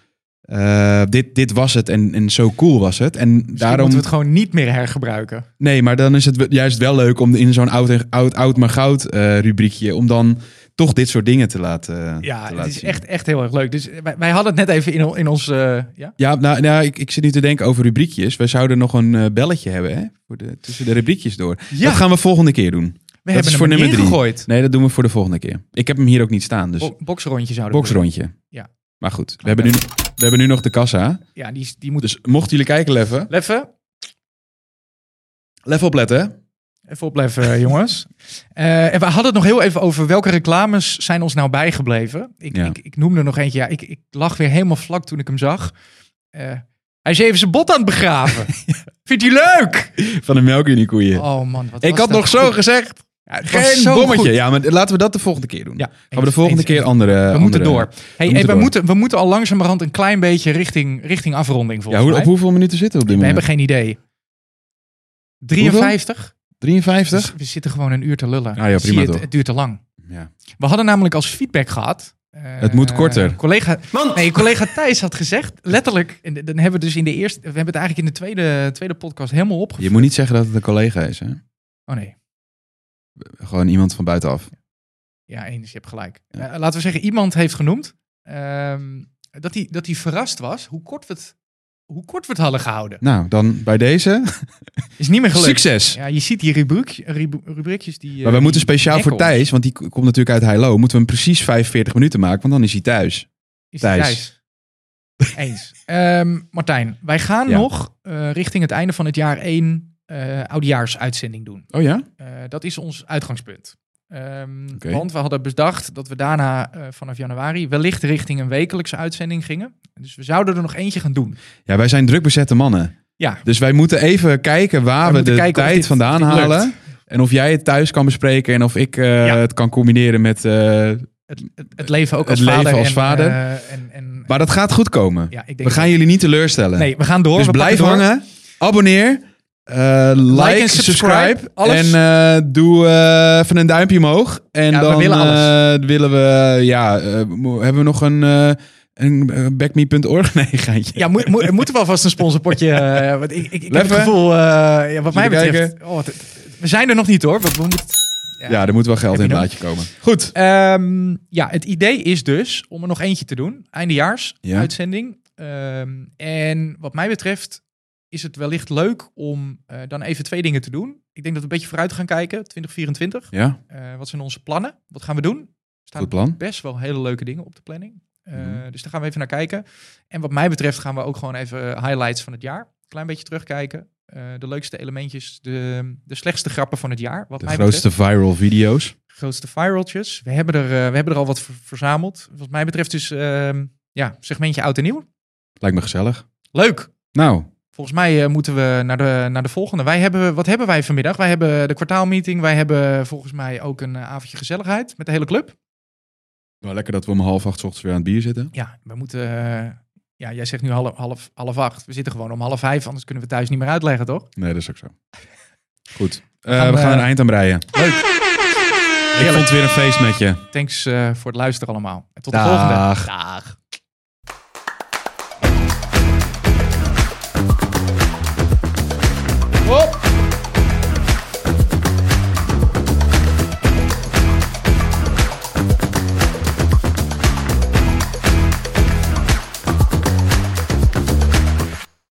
eh, dit, dit was het en, en zo cool was het. En Daarom daarom... moeten we het gewoon niet meer hergebruiken. Nee, maar dan is het we- juist wel leuk om in zo'n oud, en- oud, oud maar goud eh, rubriekje... om dan toch dit soort dingen te laten eh, Ja, te het laten is zien. echt, echt heel erg leuk. Dus wij, wij hadden het net even in, on- in ons... eh, ja? Ja, nou, nou ik, ik zit nu te denken over rubriekjes. Wij zouden nog een eh, belletje hebben, hè? Voor de, tussen de rubriekjes door. Ja. Dat gaan we volgende keer doen. We dat hebben is hem voor nummer drie. Dus- ingegooid. Nee, dat doen we voor de volgende keer. Ik heb hem hier ook niet staan, dus Bo- boksrondje zouden we doen. boxrondje. Oh, Ja. Maar goed, we hebben, nu, we hebben nu nog de kassa. Ja, die, is- die moet... Dus mochten jullie kijken, Leffen. Leffen, Leffen opletten, hè? Even opleven, jongens. Eh, en we hadden het nog heel even over welke reclames zijn ons nou bijgebleven. Ik, Ja. ik, ik noemde er nog eentje. Ja, ik, ik lag weer helemaal vlak toen ik hem zag. Eh, hij is even zijn bot aan het begraven. Vindt hij leuk? Van de melkuniekoeien. Oh man, wat ik was had dat nog zo goed. gezegd. Het was Geen zo bommetje. goed. Ja, maar laten we dat de volgende keer doen. Ja, Gaan we de volgende eens, keer eh, eens. andere... We moeten door. Hey, moeten hey, we, door. moeten, we moeten al langzamerhand een klein beetje richting, richting afronding Ja, volgens hoe, mij. op hoeveel minuten zitten we op dit we moment? hebben geen idee. 53? 53? Dus we zitten gewoon een uur te lullen. Ah ja, Zie prima je, het, toch. het duurt te lang. Ja. We hadden namelijk als feedback gehad. eh, Het moet korter. Collega, Man. nee, collega Thijs had gezegd, letterlijk, en dan hebben we dus in de eerste, we hebben het eigenlijk in de tweede, tweede podcast helemaal opge. Je moet niet zeggen dat het een collega is, hè? Oh nee, Gewoon iemand van buitenaf. ja, eens, je hebt gelijk. Eh, laten we zeggen, iemand heeft genoemd ehm, dat hij dat hij verrast was hoe kort we het, hoe kort we het hadden gehouden. Nou, dan bij deze. Is niet meer gelukt. Succes! Ja, je ziet die rubriek, rub- rubriekjes die. eh, Maar we moeten die speciaal voor echo's. Thijs, want die k- komt natuurlijk uit Heilo, moeten we hem precies 45 minuten maken, want dan is hij thuis. Is die Thijs. Thijs. Eens. Ehm, Martijn, wij gaan Ja. nog eh, richting het einde van het jaar één eh oudejaarsuitzending doen. Oh ja? Eh, dat is ons uitgangspunt. Ehm, Oké. Want we hadden bedacht dat we daarna eh, vanaf januari wellicht richting een wekelijkse uitzending gingen. Dus we zouden er nog eentje gaan doen. Ja, wij zijn druk bezette mannen. Ja. Dus wij moeten even kijken Wij waar we moeten de kijken of tijd dit- vandaan dit lukt. halen. En of jij het thuis kan bespreken en of ik eh, Ja. het kan combineren met... eh, Het, het, het leven ook Het als leven vader. als en, vader. eh, en, en, Maar dat gaat goed komen. ja, ik We denk gaan jullie niet teleurstellen. Nee, we gaan door. dus we pakken blijf door. hangen. Abonneer. eh, like, en subscribe, subscribe. En alles. eh, doe eh, even een duimpje omhoog. En Ja, we dan willen eh, willen we, ja, eh, mo- hebben we nog een, eh, een eh, backme.org? Nee, geintje. Ja, moet, moet, moeten we alvast een sponsorpotje. eh, want ik ik, ik heb het Leffen. gevoel, eh, ja, wat mij Zullen we betreft. Oh, wat- we zijn er nog niet hoor. want we moeten- Ja, er moet wel geld in eh, Heb het je laadje komen. Goed. Ehm, ja, het idee is dus om er nog eentje te doen. Eindejaars Ja. uitzending. Ehm, en wat mij betreft is het wellicht leuk om eh, dan even twee dingen te doen. Ik denk dat we een beetje vooruit gaan kijken, 2024. Ja, Eh, wat zijn onze plannen? Wat gaan we doen? Er staan goed plan. best wel hele leuke dingen op de planning. Eh, Mhm. Dus daar gaan we even naar kijken. En wat mij betreft gaan we ook gewoon even highlights van het jaar. Klein beetje terugkijken. eh, de leukste elementjes, de, de slechtste grappen van het jaar. Wat De mij grootste viral video's. grootste viraltjes. We hebben er, eh, we hebben er al wat ver- verzameld. Wat mij betreft dus ehm, ja, segmentje oud en nieuw. Lijkt me gezellig. Leuk. Nou, Volgens mij eh, moeten we naar de, naar de volgende. Wij hebben, wat hebben wij vanmiddag? Wij hebben de kwartaalmeeting. Wij hebben volgens mij ook een eh, avondje gezelligheid met de hele club. wel lekker dat we om half acht 's ochtends weer aan het bier zitten. Ja, we moeten... eh, ja, jij zegt nu half, half, half acht. We zitten gewoon om half vijf, anders kunnen we thuis niet meer uitleggen, toch? Nee, dat is ook zo. Goed. Eh, gaan, we gaan eh, een eind aan breien. Leuk. Ik vond het weer een feest met je. Thanks eh, voor het luisteren allemaal. En tot de Dag. volgende. Dag.